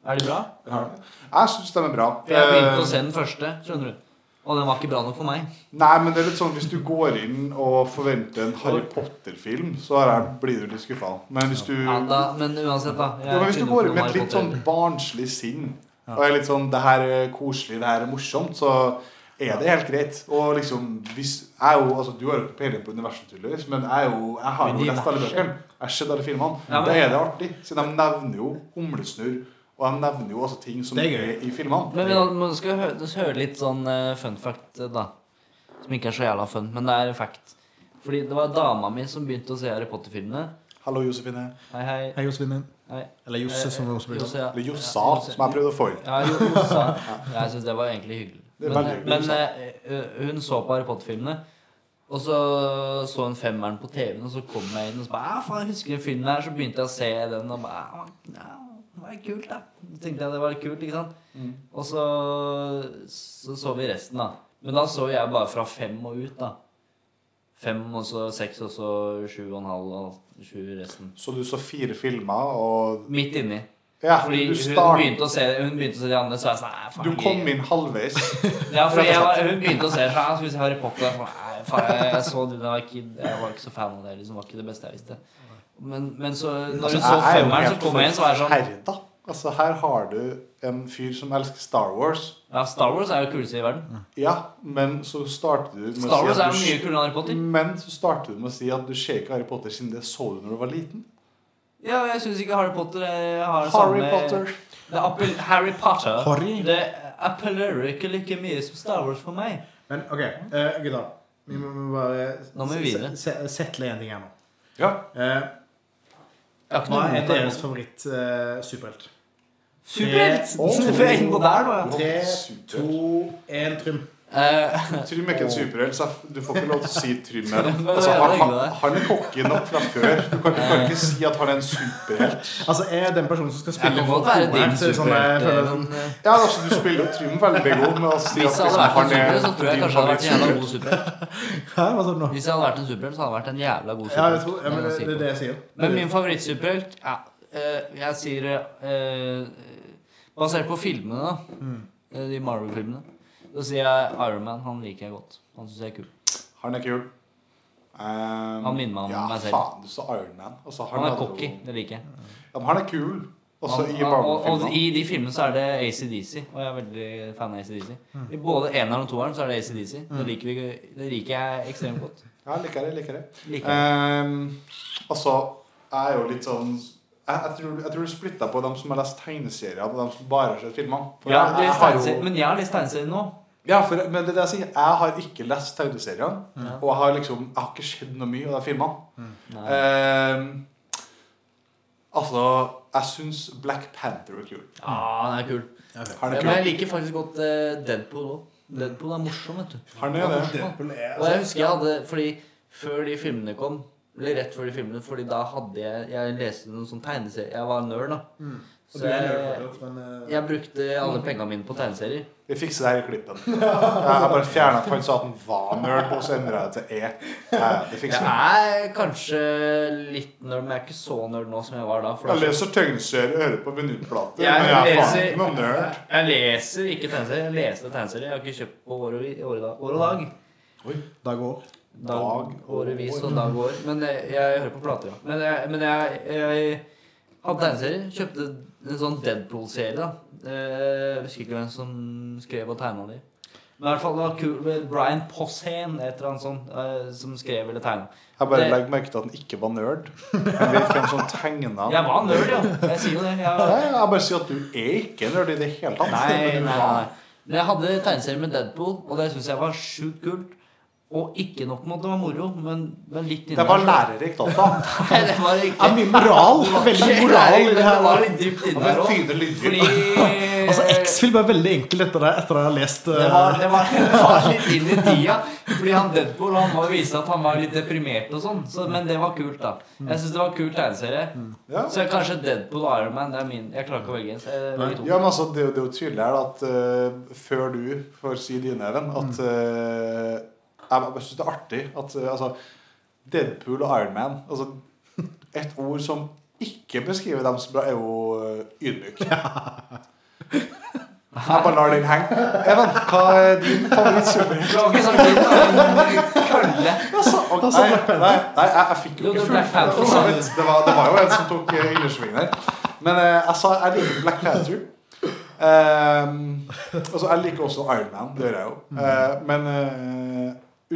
Er de bra?
Jeg syns de er bra.
For jeg begynte
Eh,
å se den første, skjønner du. Og den var ikke bra nok for meg.
Nei, men det er litt sånn Hvis du går inn og forventer en Harry Potter-film, så er jeg- blir du litt skuffa. Men hvis du
Ja, da, men uansett, da. jeg
Ja, men hvis du
kunne
går
ikke
inn
noe
med et
Harry
litt sånn
Potter.
barnslig sinn og er litt sånn 'Det her er koselig, det her er morsomt', så er det helt greit. Og liksom hvis, jeg er jo, altså, Du har jo ikke peiling på universet, tydeligvis, men jeg, er jo, jeg har jo
Universet.
lest alle bøkene. Jeg har sett alle filmene.
Ja, men-
Da er det artig, siden de nevner jo humlesnurr, og de nevner jo altså ting som
Det
er,
er gøy.
i filmene.
Men, men man skal høre, høre litt sånn eh, fun fact, eh, da. Som ikke er så jævla fun, men det er fact. Fordi det var dama mi som begynte å se Harry Potter-filmene.
Hallo, Josefine.
Hei, hei.
Hei, Josefin min.
hei.
Eller Josse, som hun også blir kalt.
Josse, ja.
Eller Jossa, som jeg prøvde å få inn.
Ja, jo, Jossa. Jeg syns det var egentlig hyggelig.
Det er
Men,
veldig hyggelig,
men
Jossa.
eh, hun så på Harry Potter-filmene. Og så så hun femmeren på TV-en, og så kom jeg inn og så bare, «Ah, faen, jeg husker den filmen her, så begynte jeg å se den. Og bare, «Ah, ja, det var kult da Så tenkte jeg det var kult, ikke sant?
Mm.
Og så så, så vi resten, da. Men da så jeg bare fra fem og ut, da. Fem og så seks og så sju og en halv og sju resten.
Så du så fire filmer, og
Midt inni.
Ja,
Fordi
du
hun
startet
begynte, å se, hun begynte å se de andre, så jeg sånn «Nei, faen,
Du kom
jeg-
inn halvveis.
ja, for jeg var, hun begynte å se seg Hun skulle se Harry Potter. Jeg, var sånn, nei, faen, jeg, jeg så det da jeg var kid. Jeg var ikke så fan av det. Liksom, var ikke det beste jeg visste. Men, men så, når hun
Altså,
så
Jeg er jo
femmeren,
helt
så kom jeg inn, så var jeg sånn
forferda. Altså, her har du en fyr som elsker Star Wars.
Ja, Star Wars er jo det kuleste i verden.
Ja, men så starter du med å
Star
si
Wars er
at
jo
du,
mye kulere enn Harry Potter.
Men så starter du med å si at du ser ikke Harry Potter siden det så du når du var liten.
Ja, jeg syns ikke Harry Potter eh, har det
Harry
samme
Potter.
Det er appell, Harry Potter
Harry?
Det appellerer ikke like mye som Star Wars for meg.
Men OK, eh, gutta. Vi må, må bare
Nå må vi videre.
se- se- settle en ting her nå.
Ja.
Eh,
Jeg har ikke
hva
noe imot
er
Harry
deres eh,
Potter.
favoritt-superhelt?
Superhelt!
Åh.
Du er inne på der, da. ja.
Tre,
superhelt.
to, én, Trym.
Eh,
Trym er ikke en superhelt, så jeg- du får ikke lov til å si Trym her.
Trym,
Altså, han,
det er hyggelig,
han, han er cocky nok fra før. Du kan, du kan ikke si at han er en superhelt.
Altså, jeg er den personen som skal
jeg
spille
kan godt være
toeren,
din
så sånn, jeg
superhelt.
føler
eh,
sånn-
men, eh,
Ja, altså, du spiller jo Trym veldig god med å si at
Hvis jeg
liksom,
hadde vært en
han er
superhelt, så tror jeg
din
kanskje jeg hadde vært en jævla
favoritt-superhelt.
god superhelt.
Hæ, hva sa du nå?
Hvis jeg hadde vært en superhelt, så hadde jeg vært en jævla god
Ja, jeg tror,
superhelt.
ja, men det,
Det må
det er det
jeg si på.
jeg sier.
Men min favorittsuperhelt ja, eh, Jeg sier eh, Basert på filmene, da.
Mm.
eh, De Marvel-filmene. Så sier jeg Iron Man. Han liker jeg godt. Han syns jeg er kul.
Han er kul. Um,
Han minner meg om
ja,
meg selv.
Faen, du sa Iron Man. Altså,
Han er
hadde jo-
cocky. Det liker jeg.
Ja, men han er kul. Også
Han-
i
han- og, og
barnefilmer.
i de filmene så er det ACDC, og jeg er veldig fan av ACDC.
Mm.
I både eneren og toeren så er det ACDC. Det liker, vi, det liker jeg ekstremt godt.
Ja, jeg liker det. jeg liker det.
Eh,
Liker jeg.
Um, altså, jeg er jo litt sånn jeg, jeg, tror, jeg tror du splitta på dem som har lest tegneserier, og dem som bare har sett filmene. For
Ja,
jeg-
det
jeg
er
har jo-
tegneserie- men jeg har lest tegneserien nå.
Ja, for, men det er det jeg sier. Jeg har ikke lest tegneseriene. Og jeg har liksom Jeg har ikke sett noe mye av de filmene.
Nei.
Eh,
Ehm, altså, jeg syns Black Panther er kul.
Ja, han Ah, er kul.
Han
Ja,
er
men jeg
kul.
liker faktisk godt eh, Deadpool òg. Deadpool er morsom, vet du.
Han er det.
Deadpool er E.
Og jeg husker jeg hadde Fordi før de filmene kom eller rett før de filmene, fordi da hadde jeg Jeg leste noen sånn tegneserier. Jeg var nerd, da.
Mm. Og
Så
du er
jeg,
nerd fortsatt, men eh,
jeg brukte alle pengene mine på tegneserier.
Vi fikser det her i klippen. Jeg har bare fjerna at han sa at han var nerd, og så endra jeg det til E. Ja, det fikser vi.
Jeg er kanskje litt nerd, men jeg er ikke så nerd nå som jeg var da. For
Jeg
det er så-
leser tegneserier og hører på vinylplater,
Jeg
men jeg er faen
leser-
ikke noen nerd.
jeg leser ikke tegneserier. Jeg leste tegneserier. Jeg har ikke kjøpt på år og, vi- år og dag. År og dag.
dag og år.
dag,
Dag,
årevis
år.
og dag år. Men jeg, jeg hører på plater, ja. Men jeg, men jeg, jeg hadde tegneserier. Kjøpte en sånn Deadpool-serie. da. Eh, Jeg husker ikke hvem som skrev og tegna de. Men i hvert fall det var kul med Brian Posehn, et eller annet sånt, eh, som skrev eller tegna.
Jeg bare
Det-
legger merke til at han ikke var nerd. Jeg vet hvem som tegna
Jeg var nerd, jo. Jeg sier jo det.
Nei,
Jeg,
jeg bare sier at du er ikke nerd i det hele tatt.
nei, nei, nei. Men jeg hadde tegneserie med Deadpool, og det syns jeg var sjukt kult. Og ikke nok med at det var moro, men, men litt
Det var
innenfor.
lærerikt, altså.
Nei, det var
Det
ikke
er mye moral. Veldig moral i
Nei,
det
men det
her.
var litt dypt inni der òg. Fordi Eh,
Altså, X-Film er veldig enkel etter det, etter at jeg har lest eh,
Det var, det, var, det var litt inn i tida. Fordi han Deadpool han må jo vise at han var litt deprimert og sånn. Så, men det var kult, da. Jeg syns det var en kul tegneserie.
Ja.
Så kanskje Deadpool og Iron Man. Det er min. Jeg klarer ikke å velge en. så jeg velger to.
Ja, men altså, det, er jo- det er jo tydelig her da, at eh, før du får si dine, Even, at eh, Jeg bare syns det er artig at eh, altså, Deadpool og Iron Man altså, Et ord som ikke beskriver dem så bra, er jo eh, ydmyk. Jeg bare lar den henge. Even, hva er din favorittsuper?
Det var ikke sånn fint, da. En Kølle.
Nei, nei, nei, jeg, jeg fikk jo
Jo, det
ikke
er
fullført.
Black Panther.
for så vidt. Det, var- det var jo en som tok eh, ylersvingen her. Men eh, jeg sa jeg liker Black Panther. Ehm, altså, jeg liker også Iron Man. Det gjør jeg jo. Eh, men eh,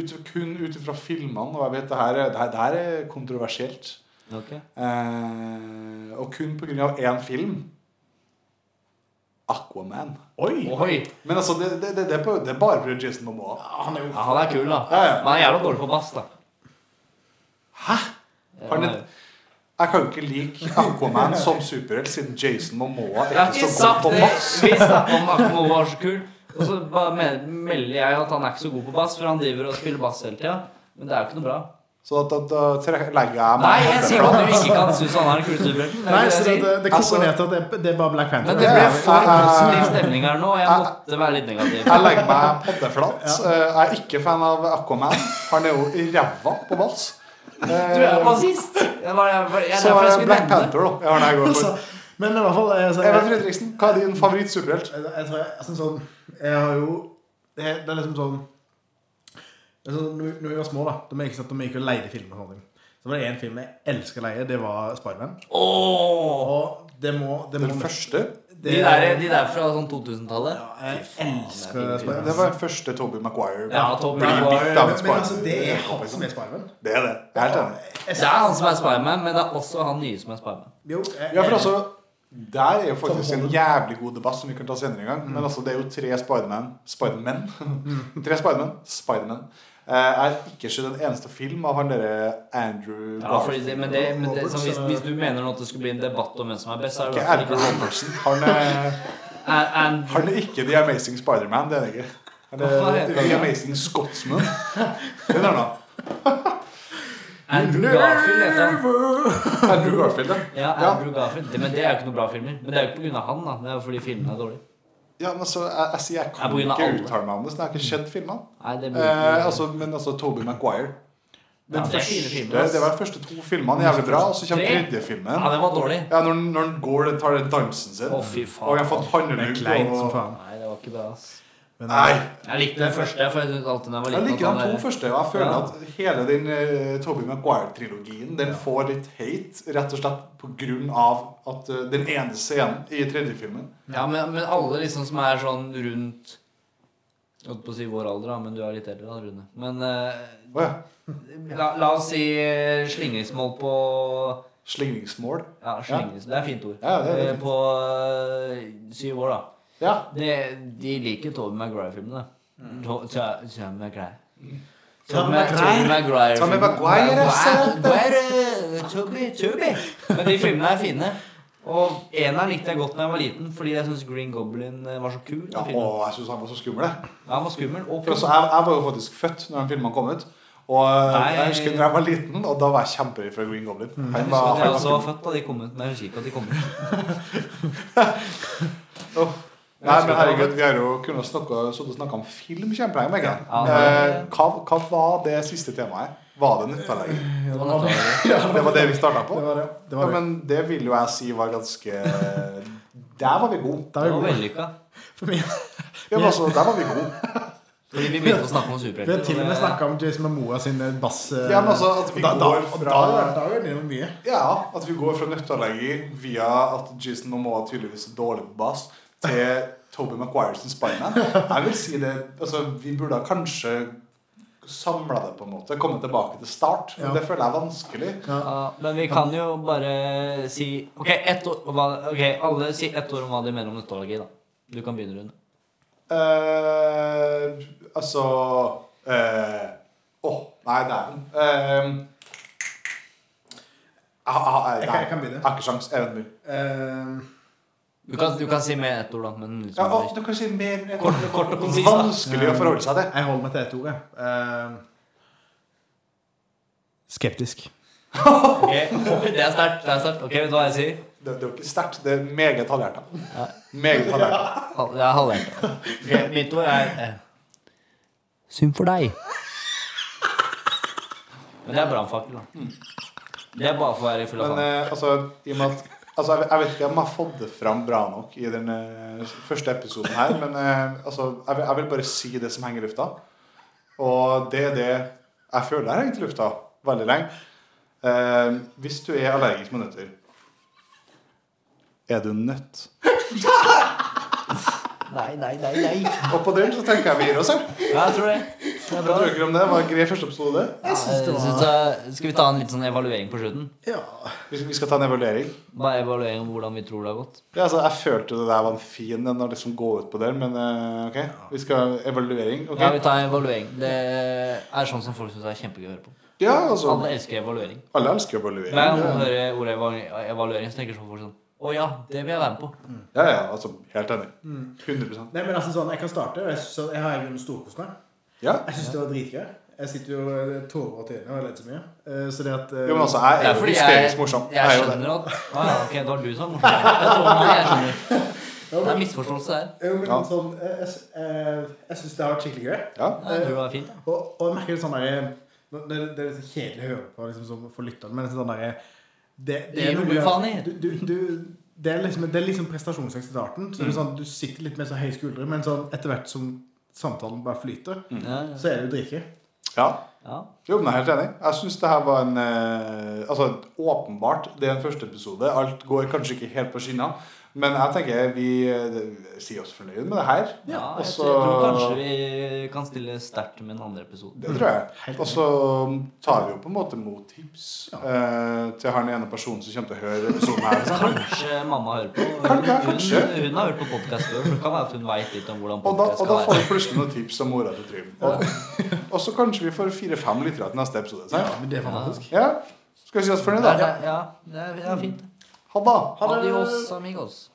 ut, kun ut ifra filmene, og jeg vet det her, er- det her, det her er kontroversielt Eh, Og kun pga. én film Aquaman.
Oi!
Oi.
Men altså, det, det, det, det, er, på, det er bare pga. Jason Momoa.
Han er jo
Ja, han er kul, da.
Ja, ja.
Men han er jævla dårlig på bass, da. Hæ?
Har den- Jeg kan jo ikke like Aquaman som superhelt siden Jason Momoa
Jeg har
ikke
ikke
så god
sagt
på
det.
bass.
Vi snakket om Akmo var så kul. Og så bare me- melder jeg at han er ikke så god på bass, for han driver og spiller bass hele tida. Men det er jo ikke noe bra.
Så da, da, da tre- legger jeg meg
Nei, jeg sier jo at du ikke kan synes han er den kuleste superhelten.
Nei, så det,
det, er ikke det jeg
det,
sier.
det koker
Altså-
ned til at det, det er bare Black Panther.
Men det ble for
Ja, ja, ja.
positiv stemning her nå, og jeg måtte være litt negativ.
Jeg legger meg paddeflat. Eh, Jeg er ikke fan av Aquaman. Han er jo ræva på bass.
Du er
Eh,
bassist! Det var jeg, jeg, jeg,
Så
derfor jeg
eh,
skulle
Black
nevne det.
Panther, da. Jeg har det jeg går
Altså,
for.
men i hvert fall eh, så-
Even Fredriksen, hva er din favoritt-superhelt?
Jeg, jeg tror jeg, altså, sånn, jeg har jo Det, det er liksom sånn det er sånn, når- Når vi var små, da Da vi gikk, da vi gikk og leide filmer og sånne ting, Så var det en film jeg elsker å leie. Det var Spiderman.
Åh,
Og det må, det må
Den første?
det-
de, der, de der fra sånn 2000-tallet.
Ja, jeg elsker
det er fint.
Det
Spiderman.
var første Toby Maguire.
Ja, Tom
Blir
Maguire.
bitt av en
Men, men altså,
spider.
det er han som er Spiderman.
Det er det. Jeg er helt enig.
Det er han som er Spiderman, men det er også han nye som er Spiderman.
Jo, jeg-
Ja, for altså der er jo faktisk
Som
en
Hollywood.
jævlig god debatt som vi kan ta senere en gang. Men altså, det er jo tre Spiderman Spiderman? tre Spiderman. Spiderman. Eh, Jeg har ikke sett en eneste film av han derre Andrew
Ja, fordi det, men det, men det, så hvis,
Roberts, eh,
hvis du mener nå at det skulle bli en debatt om hvem som er best, så er det
Ikke
i hvert
Andrew
fall ikke
Robertson. Han er,
And- and-
han er ikke The Amazing Spiderman. Det er han ikke. Han
Hva
er
heter han?
The Amazing Scotsman. Det er han da.
Andrew Garfield heter han.
Andrew Garfield, ja.
Ja, Andrew Garfield. Det- Men det er jo ikke noen bra filmer. Men det er jo ikke pga. han, da. Det er jo fordi filmene er dårlige.
ja men så, jeg, jeg sier jeg
Ja,
kan
på grunn av
ikke
alle. Mm.
uttale meg om det, så jeg har ikke sett filmene.
Nei, det blir
Eh, altså, men altså Toby Maguire.
ja, det er fine filmer.
Det,
ass.
det var de første to filmene jævlig bra, og så kommer
Tre?
tredje filmen.
Ja, den var dårlig.
Ja, når, han- når han går og tar den dansen sin.
Å, fy faen.
Og jeg har fått
Det er
handlelugg.
kleint som
Og...
faen.
Nei, det var ikke bra, ass.
Men,
Nei!
Jeg likte den første, for jeg syntes alltid den var
Jeg
liten.
liker
at
de
han
to
er- sånn
første. Og jeg føler
Ja.
at hele den uh, Toby Maguire-trilogien Den får litt hate, rett og slett på grunn av at eh, den ene scenen i tredje filmen
Ja, men, men alle liksom som er sånn rundt Jeg holdt på å si vår alder, da, men du er litt eldre, da, Rune. Men eh,
Å ja.
la, la oss si eh, slingringsmål på
Slingringsmål.
Ja, slingringsmål. Det er fint ord.
Ja, det er
Eh,
fint.
På eh, syv år, da.
Ja.
Det, de liker Tobey Maguire-filmene. Mm. Tobey Maguire.
Tobey
Tobey Maguire.
Tobey Maguire, jeg ser det.
Maguire. Tobey, Tobey. Men de filmene er fine. Og eneren likte jeg godt da jeg var liten, fordi jeg syns Green Goblin eh, var så kul.
ja
den
å,
filmen.
jeg syns han var så skummel, jeg.
Ja, han var skummel og
For
kul.
altså, jeg, jeg var jo faktisk født når den filmen kom ut. Og eh,
Nei.
jeg husker da jeg var liten, og da var jeg kjemperedd for Green Goblin.
Mm.
Jeg
Han
husker
var,
at jeg
han var
også var
skummel.
født da de kom ut, men jeg husker ikke at de kom ut.
Åh. Nei, men herregud, vi har jo kunnet snakke, sittet og snakket om film kjempelenge. merker jeg.
Ja, det-
Eh, hva, hva var det siste temaet? Var det nyttelegging?
Det var nok-
Det var det vi startet på?
det var det. det,
Ja,
var det.
men det vil jo jeg si var ganske Der var vi gode.
Da
det var
er vi gode.
vellykka.
For meg-
Ja, men altså, der var vi gode.
Fordi vi begynte å snakke om
Vi har til og
superhelter.
med snakka om Jason Mamoa sin bass... eh,
Ja, men altså, at vi
da, da,
går
og
fra-
da, da gjør det jo mye.
Ja, at vi går fra nøtteallergi via at Jason Momoa tydeligvis er dårlig på bass, til Toby Maguire som Spiderman. Jeg vil si det altså, Vi burde ha kanskje samla det, på en måte. Komme tilbake til start. Men
Ja.
det føler jeg er vanskelig.
Ja, men vi kan jo bare si Ok, ett ord, hva- ok, alle si ett ord om hva de mener om nostalgi, da. Du kan begynne, Rune.
eh altså eh, Åh, nei, dæven. Eh, jeg, jeg, jeg,
Jeg kan- jeg
jeg,
kan
jeg
begynne.
har ikke sjans. Even Myhr.
Eh,
Du kan, du kan si mer enn ett ord, da. Men liksom,
Ja, å, du kan si mer enn-
Kort- kort og konsist, da.
Vanskelig å forholde seg til.
jeg holder meg til ett ord, jeg. Eh, skeptisk.
Ok, Det er sterkt. det er sterkt Ok, Vet du hva jeg sier?
Det, det er jo ikke sterkt. Det er meget halvhjerta. Meget halvhjerta.
Hal- Det er halvhjertet. Ok, mitt ord er eh, Synd for deg. Men det er brannfakkel, da. Det er bare for å være full av
Men
faen.
eh, altså, i og med at Altså, jeg, jeg vet ikke om jeg har fått det fram bra nok i den eh, første episoden her, men eh, altså, jeg, vil- jeg vil bare si det som henger i lufta. Og det er det jeg føler har hengt i lufta veldig lenge. Eh, hvis du er allergisk mot nøtter, er du nødt?
eh, Nei, nei, nei, nei.
Og på den så tenker jeg vi gir oss her.
Ja, jeg tror det. Det er
Hva
bra.
tror dere om det? Det var en grei første episode.
Ja, jeg synes det- Skal vi ta en litt sånn evaluering på slutten?
Ja.
Vi skal, vi skal ta en evaluering.
Bare evaluering om hvordan vi tror det har gått.
Ja, altså, jeg følte det der var en fin en å liksom gå ut på der, men eh, ok. Vi skal ha evaluering. ok?
Ja, vi tar en evaluering. Det er sånn som folk syns er kjempegøy å høre på.
Ja, altså.
Alle elsker evaluering.
Alle elsker evaluering.
Hver gang
Ja,
noen hører ordet eva- evaluering, så tenker sånn folk sånn Å ja, det vil jeg være med på.
ja, ja altså, helt enig. 100
Nei, men altså sånn, Jeg kan starte. og Jeg, synes sånn- jeg har i grunnen storkost meg.
Ja.
Jeg syns det var dritgøy. Jeg sitter jo eh, tårer til øynene og har ledd så mye. Eh, Så det at eh,
Jo, men altså, jeg
Det
er
er
jo
fordi jeg,
hysterisk morsom. Jeg er
jeg
jo det.
skjønner at Å ja, ok, det var du som var morsom. Jeg tror meg, jeg skjønner. Det er misforståelse her.
Jo, men
Ja.
sånn, eh, jeg, s- eh, jeg syns det har vært skikkelig gøy.
Ja.
Jeg tror det var fint. ja.
Og, Eh, og jeg merker litt sånn der, nå- det, det er litt så kjedelig å høre på liksom, som for lytteren, men sånn der, det, det,
Gi
er
noe
noe
faen
med
i.
at du, du, du, det er liksom, det er liksom prestasjonsangst i starten. Så det er sånn, du sitter litt med så høye skuldre, men sånn, etter hvert som samtalen bare flyter,
Ja, ja.
så er det jo dritgøy.
ja.
ja.
Jo, men jeg er helt enig. Jeg syns det her var en eh, Altså, åpenbart, det er en første episode. Alt går kanskje ikke helt på skinner. Men jeg tenker vi eh, sier oss fornøyd med det her.
ja jeg
Også-
tror kanskje vi kan stille sterkt med en andre episode.
Det tror jeg. Og så tar vi jo på en måte mot tips eh, til han ene personen som kommer til å høre episoden her. sant?
Kanskje mamma hører på. Hun,
Kanskje,
hun,
kanskje.
hun har hørt på podkast før, så det kan være at hun veit litt om hvordan
Og da,
podkast
og da
skal
får
være.
vi plutselig noen tips om mora til Trym. Og, og så kanskje vi får fire-fem lyttere til neste episode.
Ja,
Sant?
men det er fantastisk.
Ja. Skal vi si oss fornøyd, da?
Ja, det er, det er fint.
Ha det.
Adios, amigos.